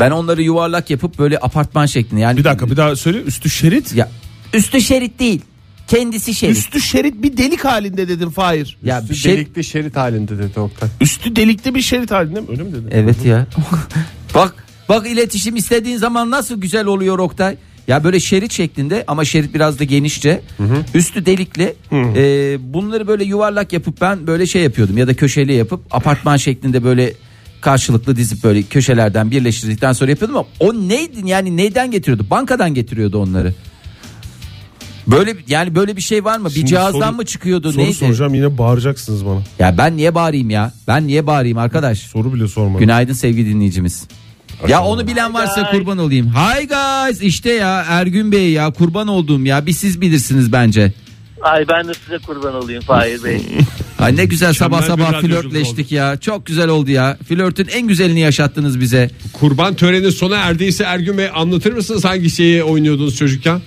Ben onları yuvarlak yapıp böyle apartman şeklinde yani. Bir dakika bir daha söyle üstü şerit. Ya üstü şerit değil. Kendisi şerit. Üstü şerit bir delik halinde dedim Fahir. ya Üstü bir şey Delikli şerit halinde dedi Oktay. Üstü delikli bir şerit halinde mi? Öyle mi dedin? <laughs> Evet ya. bak bak iletişim istediğin zaman nasıl güzel oluyor Oktay. Ya böyle şerit şeklinde ama şerit biraz da genişçe. Üstü delikli. Ee, bunları böyle yuvarlak yapıp ben böyle şey yapıyordum ya da köşeli yapıp apartman şeklinde böyle karşılıklı dizip böyle köşelerden birleştirdikten sonra yapıyordum ama o neydi yani neyden getiriyordu? Bankadan getiriyordu onları. Böyle yani böyle bir şey var mı? bir Şimdi cihazdan soru- mı çıkıyordu Soru neydi? soracağım yine bağıracaksınız bana. Ya ben niye bağırayım ya? Ben niye bağırayım arkadaş? Soru bile sormadım. Günaydın sevgili dinleyicimiz. Ya onu bilen varsa kurban olayım. Hi guys işte ya Ergün Bey ya kurban olduğum ya bir siz bilirsiniz bence. Ay ben de size kurban olayım Fahir Bey. Ay ne güzel sabah Mükemmel bir sabah radyoculuk flörtleştik ya. Çok güzel oldu ya. Flörtün en güzelini yaşattınız bize. Kurban töreni sona erdiyse Ergün Bey anlatır mısınız hangi şeyi oynuyordunuz çocukken?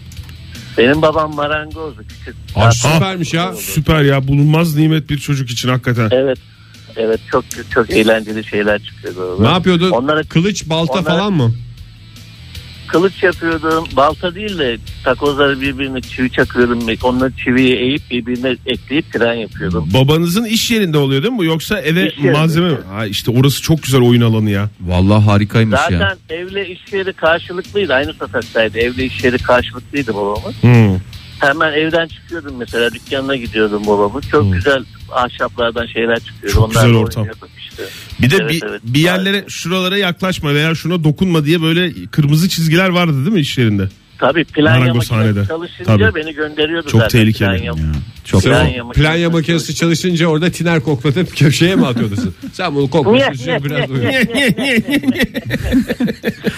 Benim babam marangozdu küçük. Zaten- Aa, süpermiş ya. Süper ya bulunmaz nimet bir çocuk için hakikaten. Evet. Evet çok çok eğlenceli şeyler çıkıyordu. Ne yapıyordu? Onlara Kılıç, balta Onlara- falan mı? kılıç yapıyordum. Balta değil de takozları birbirine çivi çakıyordum. Onları çiviyi eğip birbirine ekleyip tren yapıyordum. Babanızın iş yerinde oluyor değil mi bu yoksa eve İş yerinde. malzeme mi? Ha işte orası çok güzel oyun alanı ya. Vallahi harikaymış ya. Zaten evle iş yeri karşılıklıydı. Aynı sokaktaydı. Evle iş yeri karşılıklıydı babamın. Hmm. Hemen evden çıkıyordum mesela. Dükkanına gidiyordum babamın. Çok güzel ahşaplardan şeyler çıkıyordu. Çok güzel da ortam. oynuyorduk Işte. Bir de Evet, bir, evet. bir yerlere şuralara yaklaşma veya şuna dokunma diye böyle kırmızı çizgiler vardı değil mi iş yerinde? Tabii planya Marangoz makinesi sahnede. çalışınca Tabii. beni gönderiyordu Çok zaten. tehlikeli. Planya- E, Çok Sen- güzel. Planya makinesi Planya makinesi çalışınca orada tiner koklatıp <laughs> köşeye mi atıyorsun? Sen bunu koklatıyorsun biraz uyuyor.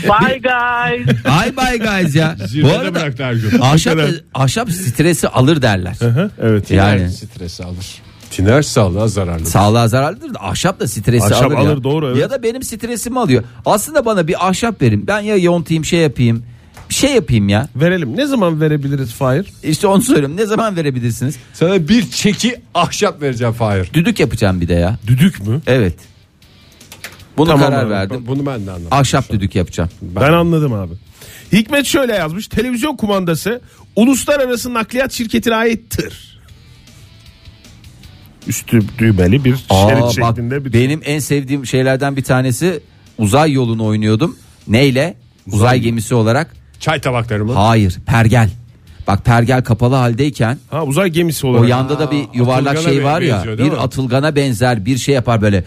Bye guys. Ay bay guys ya. <laughs> Bu Zirvede arada bıraktı Ergün. ahşap, Bu kadar. ahşap stresi alır derler. Evet. yani stresi alır. Tiner sağlığa zararlı. Sağlığa zararlıdır da ahşap da stresi Ahşap alır. ya. alır, doğru, evet. Ya da benim stresimi alıyor. Aslında bana bir ahşap verin. Ben ya yontayım şey yapayım. Bir şey yapayım ya. Verelim. Ne zaman verebiliriz Fahir? İşte onu söylüyorum. Ne zaman verebilirsiniz? Sana bir çeki ahşap vereceğim Fahir. Düdük yapacağım bir de ya. Düdük mü? Evet. Buna Tamam karar abi, verdim. Bunu ben de anladım. Ahşap düdük yapacağım. Ben, anladım abi. Hikmet şöyle yazmış. Televizyon kumandası uluslararası nakliyat şirketine aittir. Üstü düğmeli bir Aa, şerit bak, şeklinde bir benim en sevdiğim şeylerden bir tanesi uzay yolunu oynuyordum. Neyle? Uzay, gemisi olarak. Çay tabakları mı? Hayır, pergel. Bak pergel kapalı haldeyken Ha uzay gemisi O olarak. yanda da bir yuvarlak atılgana şey var ya. benziyor, değil Bir mi? atılgana benzer bir şey yapar böyle.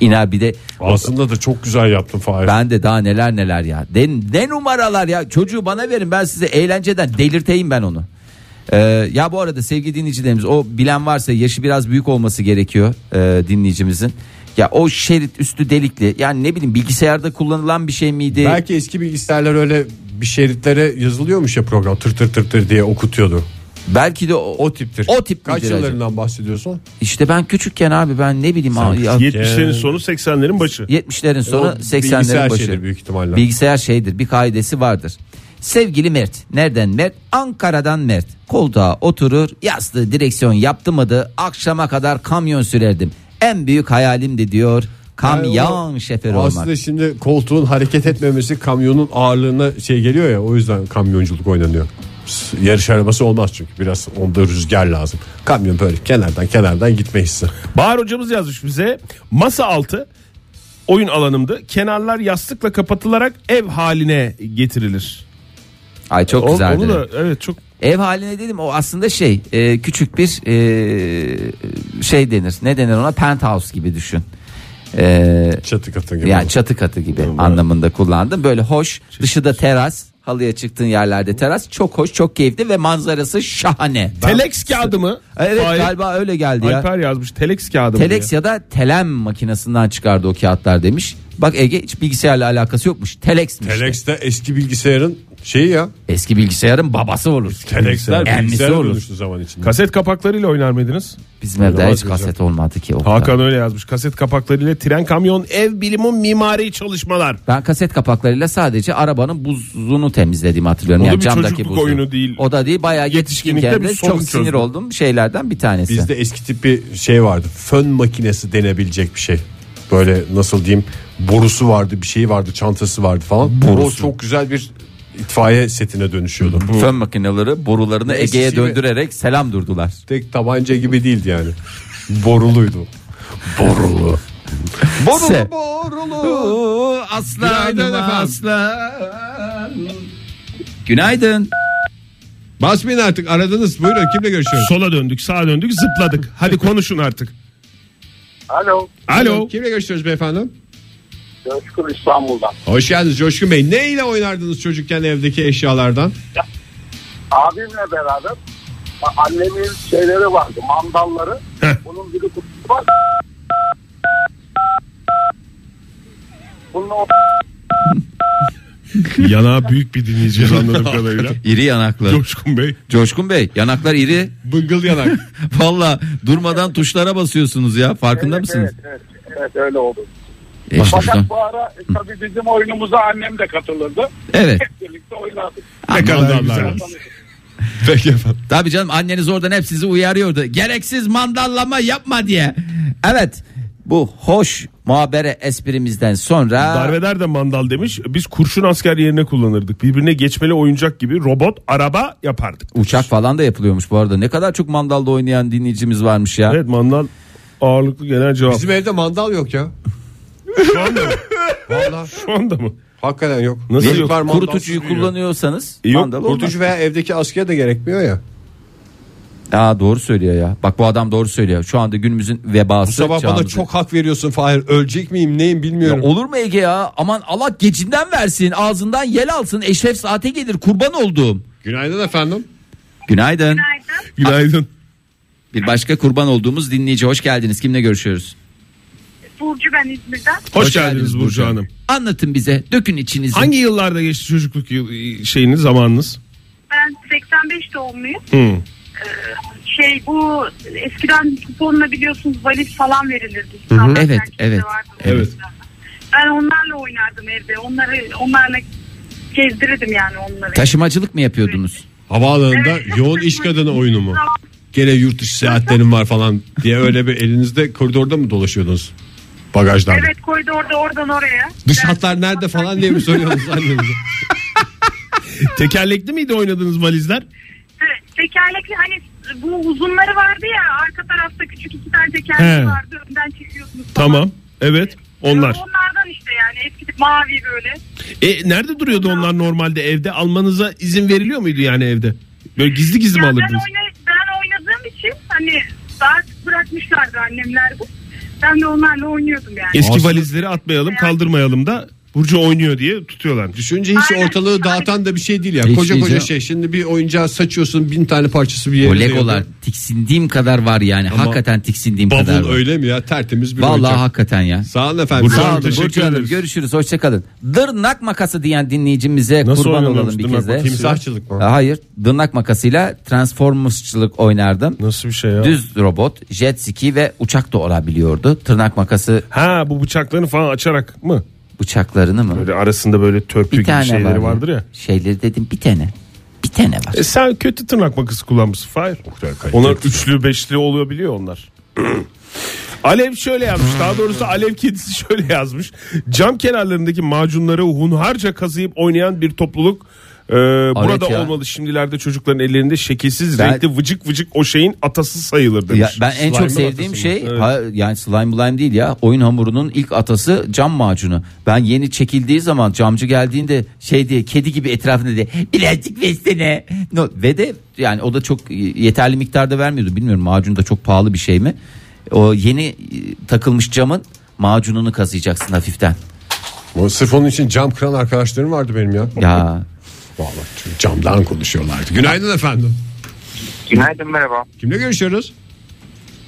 iner bir de Aslında da çok güzel yaptın Fahir. ben de daha neler neler ya. De, ne numaralar ya. Çocuğu bana verin ben size eğlenceden delirteyim ben onu. Ee, ya bu arada sevgili dinleyicilerimiz o bilen varsa yaşı biraz büyük olması gerekiyor e, dinleyicimizin. Ya o şerit üstü delikli yani ne bileyim bilgisayarda kullanılan bir şey miydi? Belki eski bilgisayarlar öyle bir şeritlere yazılıyormuş ya program tır tır tır tır diye okutuyordu. Belki de o, O tiptir. O tip Kaç midir acaba? yıllarından bahsediyorsun? İşte ben küçükken abi ben Ee, ne bileyim abi, ya- 70'lerin sonu 80'lerin başı. 70'lerin sonu O bilgisayar 80'lerin başı. şeydir büyük ihtimalle. Bilgisayar şeydir bir kaidesi vardır. Sevgili Mert. Nereden Mert? Ankara'dan Mert. Koltuğa oturur yastığı direksiyon yaptım adı akşama kadar kamyon sürerdim. En büyük hayalimdi diyor kamyon Yani o- şoförü olmak. Aslında şimdi koltuğun hareket etmemesi kamyonun ağırlığına şey geliyor ya o yüzden kamyonculuk oynanıyor. S- Yarış arabası olmaz çünkü biraz onda rüzgar lazım. Kamyon böyle kenardan kenardan gitme <laughs> hissi. Bahar hocamız yazmış bize. Masa altı oyun alanımdı. Kenarlar yastıkla kapatılarak ev haline getirilir. Ay çok O- güzeldi. Onu da evet çok Ev haline dedim o aslında şey e, küçük bir e, şey denir. Ne denir ona? Penthouse gibi düşün. E, Çatı katı gibi. Yani çatı katı gibi anlamında kullandım. Böyle hoş. Dışı da teras. Halıya çıktığın yerlerde teras. Çok hoş, çok keyifli ve manzarası şahane. telex kağıdı mı? Evet Fahir- galiba öyle geldi ya. Alper yazmış telex kağıdı mı? Telex ya da telem makinesinden çıkardı o kağıtlar demiş. Bak Ege hiç bilgisayarla alakası yokmuş. Telex'miş. de. Telex de eski bilgisayarın şeyi ya. Eski bilgisayarın babası olur. Telexler Emmisi bilgisayara olur. dönüştü zaman içinde. Kaset kapaklarıyla oynar mıydınız? Bizim evde Olamaz hiç kaset olmadı ki. O Hakan kadar. öyle yazmış. Kaset kapaklarıyla tren, kamyon, ev bilimi, mimari çalışmalar. Ben kaset kapaklarıyla sadece arabanın buzunu temizlediğimi hatırlıyorum. O da yani bir camdaki çocukluk buzu. oyunu değil. O da değil bayağı Yetişkinlikte yetişkinken bir de sorun çok sinir çözdüm. olduğum şeylerden bir tanesi. Bizde eski tip bir şey vardı. Fön makinesi denebilecek bir şey. Böyle nasıl diyeyim borusu vardı bir şeyi vardı çantası vardı falan. O çok güzel bir itfaiye setine dönüşüyordu. Fön makineleri borularını Eskisi Ege'ye gibi. döndürerek selam durdular. Tek tabanca gibi değildi yani. Boruluydu. Borulu. Se- borulu. Aslan Günaydın efendim. aslan. Günaydın. Basmayın artık aradınız. Buyurun kimle görüşüyoruz? Sola döndük, sağa döndük, zıpladık. Hadi konuşun artık. <laughs> Alo. Alo. Kimle görüşüyoruz beyefendi? Coşkun İstanbul'dan. Hoş geldiniz Coşkun Bey. Ne ile oynardınız çocukken evdeki eşyalardan? Abimle beraber a- annemin şeyleri vardı. Mandalları. Heh. Bunun bir kutusu var. Bununla Yanağı büyük bir dinleyiciniz anladığım kadarıyla. İri yanaklı. Coşkun Bey. Coşkun Bey yanaklar iri. Bıngıl <laughs> yanak. Valla durmadan tuşlara basıyorsunuz ya farkında mısınız? Evet, evet, evet öyle oldu. E işte buradan- Fakat bu ara e, tabii bizim oyunumuza annem de katılırdı. Evet. Hep birlikte oynardık. Ne kadar Sonra güzel. Peki efendim. Tabii canım anneniz oradan hep sizi uyarıyordu. Gereksiz mandallama yapma diye. Evet. Bu hoş muhabere esprimizden sonra Darveder de mandal demiş. Biz kurşun asker yerine kullanırdık. Birbirine geçmeli oyuncak gibi robot, araba yapardık. uçak falan da yapılıyormuş bu arada. Ne kadar çok mandalda oynayan dinleyicimiz varmış ya. Evet mandal ağırlıklı genel cevap. Bizim evde mandal yok ya. Şu anda mı? Vallahi Şu anda mı? hakikaten yok. Nasıl Çocuk yok? var, mandalsız Kurutucuyu büyüyor. kullanıyorsanız E yok, mandal olmaz. Kurutucu veya evdeki askıya da gerekmiyor ya. Aa, doğru söylüyor ya. Bak bu adam doğru söylüyor. Şu anda günümüzün vebası. Bu sabah bana çağımızın- çok hak veriyorsun Fahir. Ölecek miyim neyim Ya bilmiyorum. olur mu Ege ya? Aman Allah gecinden versin. Ağzından yel alsın. Eşref saate gelir kurban olduğum. Günaydın efendim. Günaydın. Günaydın. Bir başka kurban olduğumuz dinleyici. Hoş geldiniz. Kimle görüşüyoruz? Burcu ben İzmir'den. Hoş, geldiniz Burcu Hanım. Anlatın bize. Dökün içinizi. Hangi yıllarda geçti çocukluk yıl- e, şeyiniz, zamanınız? Ben 85 doğumluyum. Hı. Şey bu eskiden kuponla biliyorsunuz valiz falan verilirdi. Evet, evet, evet. Ben onlarla oynardım evde. Onları onlarla gezdirirdim yani onları. Taşımacılık mı yapıyordunuz? Havaalanında Evet. yoğun iş kadını oyunu mu? Gene yurt dışı seyahatlerim var falan diye öyle bir elinizde koridorda mı dolaşıyordunuz? Bagajdan. Evet koridorda oradan oraya. Dış hatlar nerede falan diye mi soruyorsunuz <laughs> annenize? Tekerlekli miydi oynadığınız valizler? Evet, Tekerlekli hani bu uzunları vardı ya arka tarafta küçük iki tane He. tekerlek vardı önden çekiyordunuz. falan. Tamam. Evet. Onlar. Onlardan işte yani eski mavi böyle. E nerede duruyordu onlar normalde evde? Almanıza izin veriliyor muydu yani evde? Böyle gizli gizli mi Ya ben, alırdınız? oyna- ben oynadığım için hani artık bırakmışlardı annemler bu. Ben de onlarla oynuyordum yani. Eski Aslında- valizleri atmayalım, kaldırmayalım da Burcu oynuyor diye tutuyorlar. Düşünce hiç Aynen. ortalığı dağıtan da bir şey değil ya. Hiç koca değil koca canım. şey. Şimdi bir oyuncağı saçıyorsun bin tane parçası bir yere. O legolar tiksindiğim kadar var yani. hakikaten tiksindiğim kadar Bavul var. öyle mi ya? Tertemiz bir Vallahi oyuncak. hakikaten ya. Sağ olun efendim. Burcu Sağ Hanım, olun. teşekkür Burcu Hanım ederiz. görüşürüz hoşçakalın. Dırnak makası diyen dinleyicimize Nasıl kurban oynanıyormuş olalım bir dırnak kez de. makası? Timsahçılık mı? Hayır dırnak makasıyla transformersçılık oynardım. Nasıl bir şey ya? Düz robot, jet ski ve uçak da olabiliyordu. Tırnak makası Ha bu bıçaklarını falan açarak mı? bıçaklarını mı? Böyle arasında böyle törpü bir gibi tane şeyleri var. vardır ya. Şeyleri dedim bir tane. Bir tane var. E sen kötü tırnak makası kullanmışsın Fahir. Onlar üçlü beşli olabiliyor onlar. <clears throat> Alev şöyle yazmış daha doğrusu Alev kedisi <laughs> şöyle yazmış. Cam kenarlarındaki macunları hunharca kazıyıp oynayan bir topluluk e, burada ya. olmalı. Şimdilerde çocukların ellerinde şekilsiz Ben- renkli vıcık vıcık o şeyin atası sayılır demiş. Ya ben en çok Slime'ın sevdiğim atası şey mı? Evet. ha, yani slime blime değil ya oyun hamurunun ilk atası cam macunu. Ben yeni çekildiği zaman camcı geldiğinde şey diye kedi gibi etrafında diye birazcık versene. No, ve de yani o da çok e, yeterli miktarda vermiyordu. Bilmiyorum macun da çok pahalı bir şey mi? O yeni e, takılmış camın macununu kazıyacaksın hafiften. O Sırf onun için cam kıran arkadaşlarım vardı benim ya. Ya Vallahi çünkü camdan konuşuyorlardı. Günaydın efendim. Günaydın merhaba. Kimle görüşüyoruz?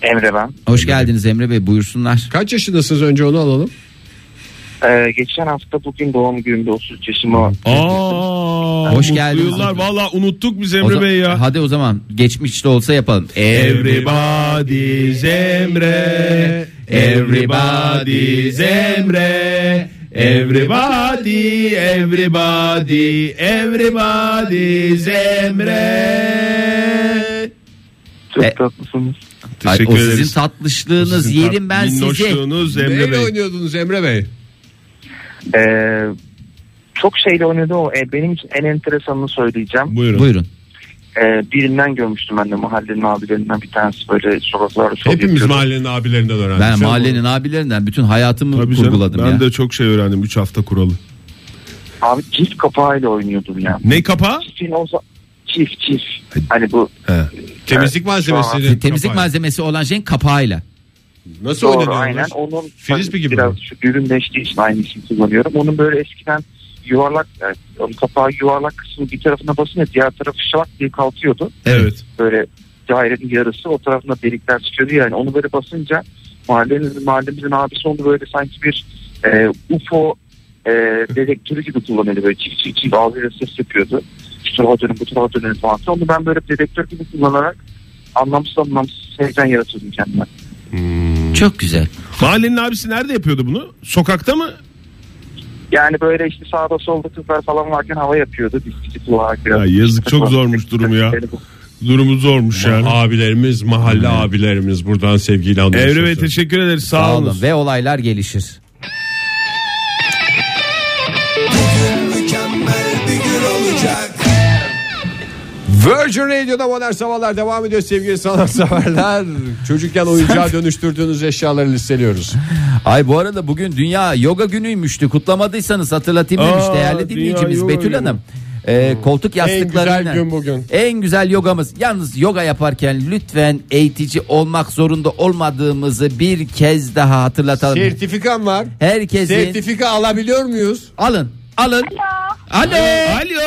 Emre ben. hoş geldiniz Emre Bey buyursunlar. Kaç yaşındasınız önce onu alalım. Ee, geçen hafta bugün doğum günümde 33 yaşıma Aa, Hoş mutlu geldiniz. Yıllar. Valla unuttuk biz O Emre za- Bey ya. Hadi o zaman geçmişte olsa yapalım. Everybody's Emre, everybody's Emre, everybody, everybody, everybody's Emre. çok E- tatlısınız. Ay, Teşekkür o sizin ederiz. tatlışlığınız yerim ben sizi. Minnoşluğunuz Emre Neyle Bey. oynuyordunuz Emre Bey? Ee, çok şeyle oynadı o. Ee, benim için en enteresanını söyleyeceğim. Buyurun. Buyurun. Ee, birinden görmüştüm ben de mahallenin abilerinden bir tanesi böyle sokaklarda şov Hepimiz yapıyordu. mahallenin abilerinden öğrendik. Ben mahallenin abilerinden bütün hayatımı şey Tabii canım, kurguladım ben ya. de çok şey öğrendim 3 hafta kuralı. Abi çift kapağıyla oynuyordum ya. Ne kapağı? Çiftin olsa çift çift. Hani bu Temizlik malzemesi. Temizlik malzemesi olan şeyin kapağıyla. Nasıl doğru oynanıyor? aynen. bunlar? Onun Frisbee gibi biraz mi? şu dürümleştiği için aynısını kullanıyorum. Onun böyle eskiden yuvarlak yani onun kapağı yuvarlak kısmı bir tarafına basınca diğer tarafı şak diye kalkıyordu. Evet. Böyle dairenin yarısı o tarafına delikler çıkıyordu yani onu böyle basınca mahallemizin, mahallemizin abisi onu böyle sanki bir e, UFO e, dedektörü gibi kullanıyordu böyle çift çift çift ağzıyla ses yapıyordu. Şu tarafa dönün bu tarafa dönün falan. Onu ben böyle dedektör gibi kullanarak anlamsız anlamsız heyecan yaratıyordum kendime. Çok güzel. Mahallenin abisi nerede yapıyordu bunu? Sokakta mı? Yani böyle işte sağda solda kızlar falan varken hava yapıyordu. Bisiklet olarak biraz. Ya yazık, <laughs> çok zormuş durum ya. Durumu zormuş yani. Abilerimiz, mahalle abilerimiz buradan sevgiyle anlıyoruz. Evrim Bey teşekkür ederiz. Sağ, Sağ olun. olun. Ve olaylar gelişir. Virgin Radio'da modern sabahlar devam ediyor sevgili sanatseverler. Çocukken oyuncağa dönüştürdüğünüz eşyaları listeliyoruz. Ay bu arada bugün Dünya Yoga Günü'ymüştü. Kutlamadıysanız hatırlatayım demiş Aa, değerli Dünya dinleyicimiz Yoga Betül Günü. Hmm. Hanım. Ee, koltuk yastıklarıyla. güzel gün bugün. En güzel yogamız. Yalnız yoga yaparken lütfen eğitici olmak zorunda olmadığımızı bir kez daha hatırlatalım. Sertifikam var. Herkesin Sertifika alabiliyor muyuz? alın. Alın. Alo. Alo. Alo.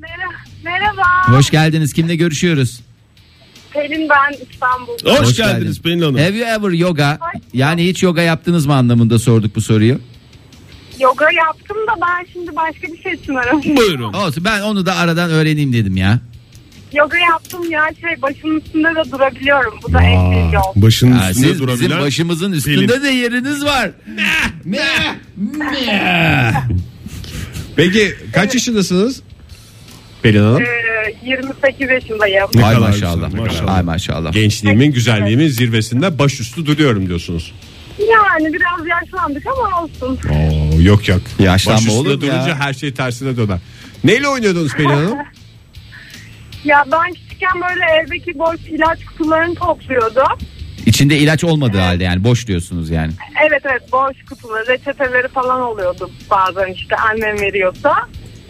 Merhaba. Merhaba. Hoş geldiniz. Kimle görüşüyoruz? Pelin ben İstanbul'da. Hoş, Hoş geldiniz geldin. Pelin Hanım. Have you ever yoga? Yani hiç yoga yaptınız mı anlamında sorduk bu soruyu. Yoga yaptım da ben şimdi başka bir şey için aradım. Buyurun. Olsun ben onu da aradan öğreneyim dedim ya. <laughs> Yoga yaptım ya şey başımın üstünde de durabiliyorum. Bu da en büyük yol. Başının Ha, üstünde siz bizim durabilen. başımızın üstünde de yeriniz var. Peki kaç yaşındasınız? Pelin Hanım. Ee, 28 yaşındayım. Ay kadar maşallah. güzel, maşallah. Ay maşallah. Gençliğimin, güzelliğimin zirvesinde başüstü duruyorum diyorsunuz. Yani biraz yaşlandık ama olsun. Oo, yok yok. Yaşlanma Başüstü olur mu ya? durunca her şey tersine döner. Neyle oynuyordunuz Pelin Hanım? Ya ben küçükken böyle evdeki boş ilaç kutularını topluyordum. İçinde ilaç olmadığı halde yani boş diyorsunuz yani. Evet evet boş kutuları reçeteleri falan oluyordu bazen işte annem veriyorsa.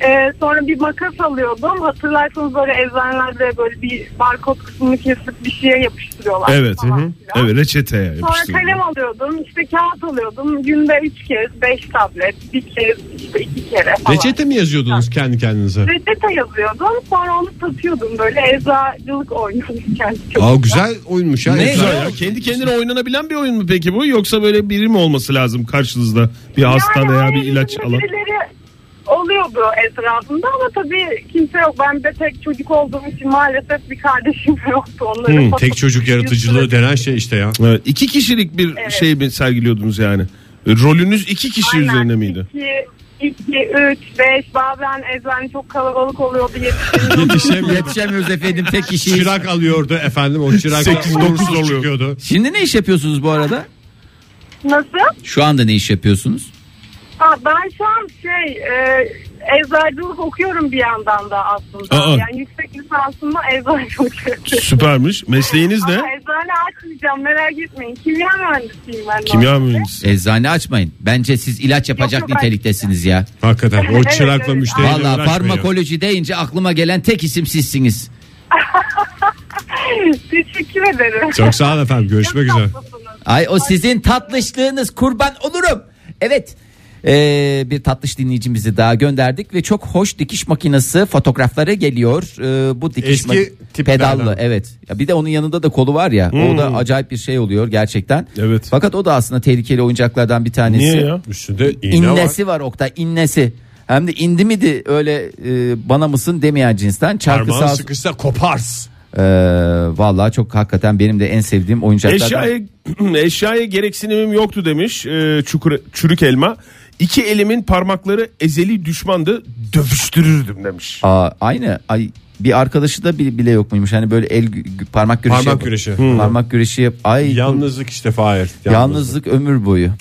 Ee, sonra bir makas alıyordum. Hatırlarsanız böyle eczanelerde böyle bir barkod kısmını kesip bir şeye yapıştırıyorlar. Evet. falan hı hı. filan. Evet reçeteye Sonra yapıştırdım. kalem alıyordum, işte kağıt alıyordum. Günde üç kez, beş tablet, bir kez, işte iki kere falan. Reçete mi yazıyordunuz kendi kendinize? Reçete yazıyordum. Sonra onu satıyordum böyle eczacılık oynuyordum kendi Aa, güzel oyunmuş ya. Ne? Güzel ya. Kendi kendine oynanabilen bir oyun mu peki bu? Yoksa böyle biri mi olması lazım karşınızda? Bir hasta veya bir ailemizin ilaç alan. birileri oluyordu etrafında ama tabii kimse yok. Ben de tek çocuk olduğum için maalesef bir kardeşim <laughs> yoktu. Onları Hmm, fotoğraf- tek çocuk yaratıcılığı denen şey işte ya. Evet, iki kişilik bir Evet. şey mi sergiliyordunuz yani? Rolünüz iki kişi Aynen. üzerine miydi? İki, iki, üç, beş bazen ezberli çok kalabalık oluyordu <laughs> yetiştiriyordum. Yetişemiyoruz efendim tek kişiyiz. Çırak alıyordu efendim o çırak Sekiz, dokuz uğursuz oluyor. çıkıyordu. Şimdi ne iş yapıyorsunuz bu arada? Nasıl? Şu anda ne iş yapıyorsunuz? Ha, ben şu an şey e, eczacılık okuyorum bir yandan da aslında. Aa. Yani yüksek lisansımla eczacılık okuyorum. <laughs> Süpermiş. Mesleğiniz ne? Ama eczane açmayacağım merak etmeyin. Kimya mühendisiyim ben. de. Kimya mühendisi. Eczane açmayın. Bence siz ilaç yapacak Yok, yok, niteliktesiniz ya. Hakikaten o Evet, çırakla evet. müşteriyle Valla uğraşmayın ya. farmakoloji deyince aklıma gelen tek isim sizsiniz. Teşekkür ederim. Çok sağ olun efendim görüşmek Çok üzere. tatlısınız. Ay o sizin tatlışlığınız kurban olurum. Evet. Ee, bir tatlış dinleyicimizi daha gönderdik ve çok hoş dikiş makinesi fotoğrafları geliyor. Ee, bu dikiş Eski ma- tiplerden. pedallı evet. Ya bir de onun yanında da kolu var ya. O da acayip bir şey oluyor gerçekten. Evet. Fakat o da aslında tehlikeli oyuncaklardan bir tanesi. Niye ya? Üstünde iğne var. İnnesi var. Oktay innesi. Hem de indi miydi öyle e, bana mısın demeyen cinsten çarkı Parmağın sağ. sıkışsa kopars. Ee, vallahi çok hakikaten benim de en sevdiğim oyuncaklardan. Eşyaya, <clears throat> eşyaya gereksinimim yoktu demiş e, çukur, çürük elma. İki elimin parmakları ezeli düşmandı dövüştürürdüm demiş. Aa, aynı. Ay, bir arkadaşı da bi- bile yok muymuş? Hani böyle el gü- gü- parmak güreşi. Hmm. Parmak yap- güreşi. Parmak güreşi yap. Ay Yalnızlık işte Fahir. yalnızlık ömür boyu.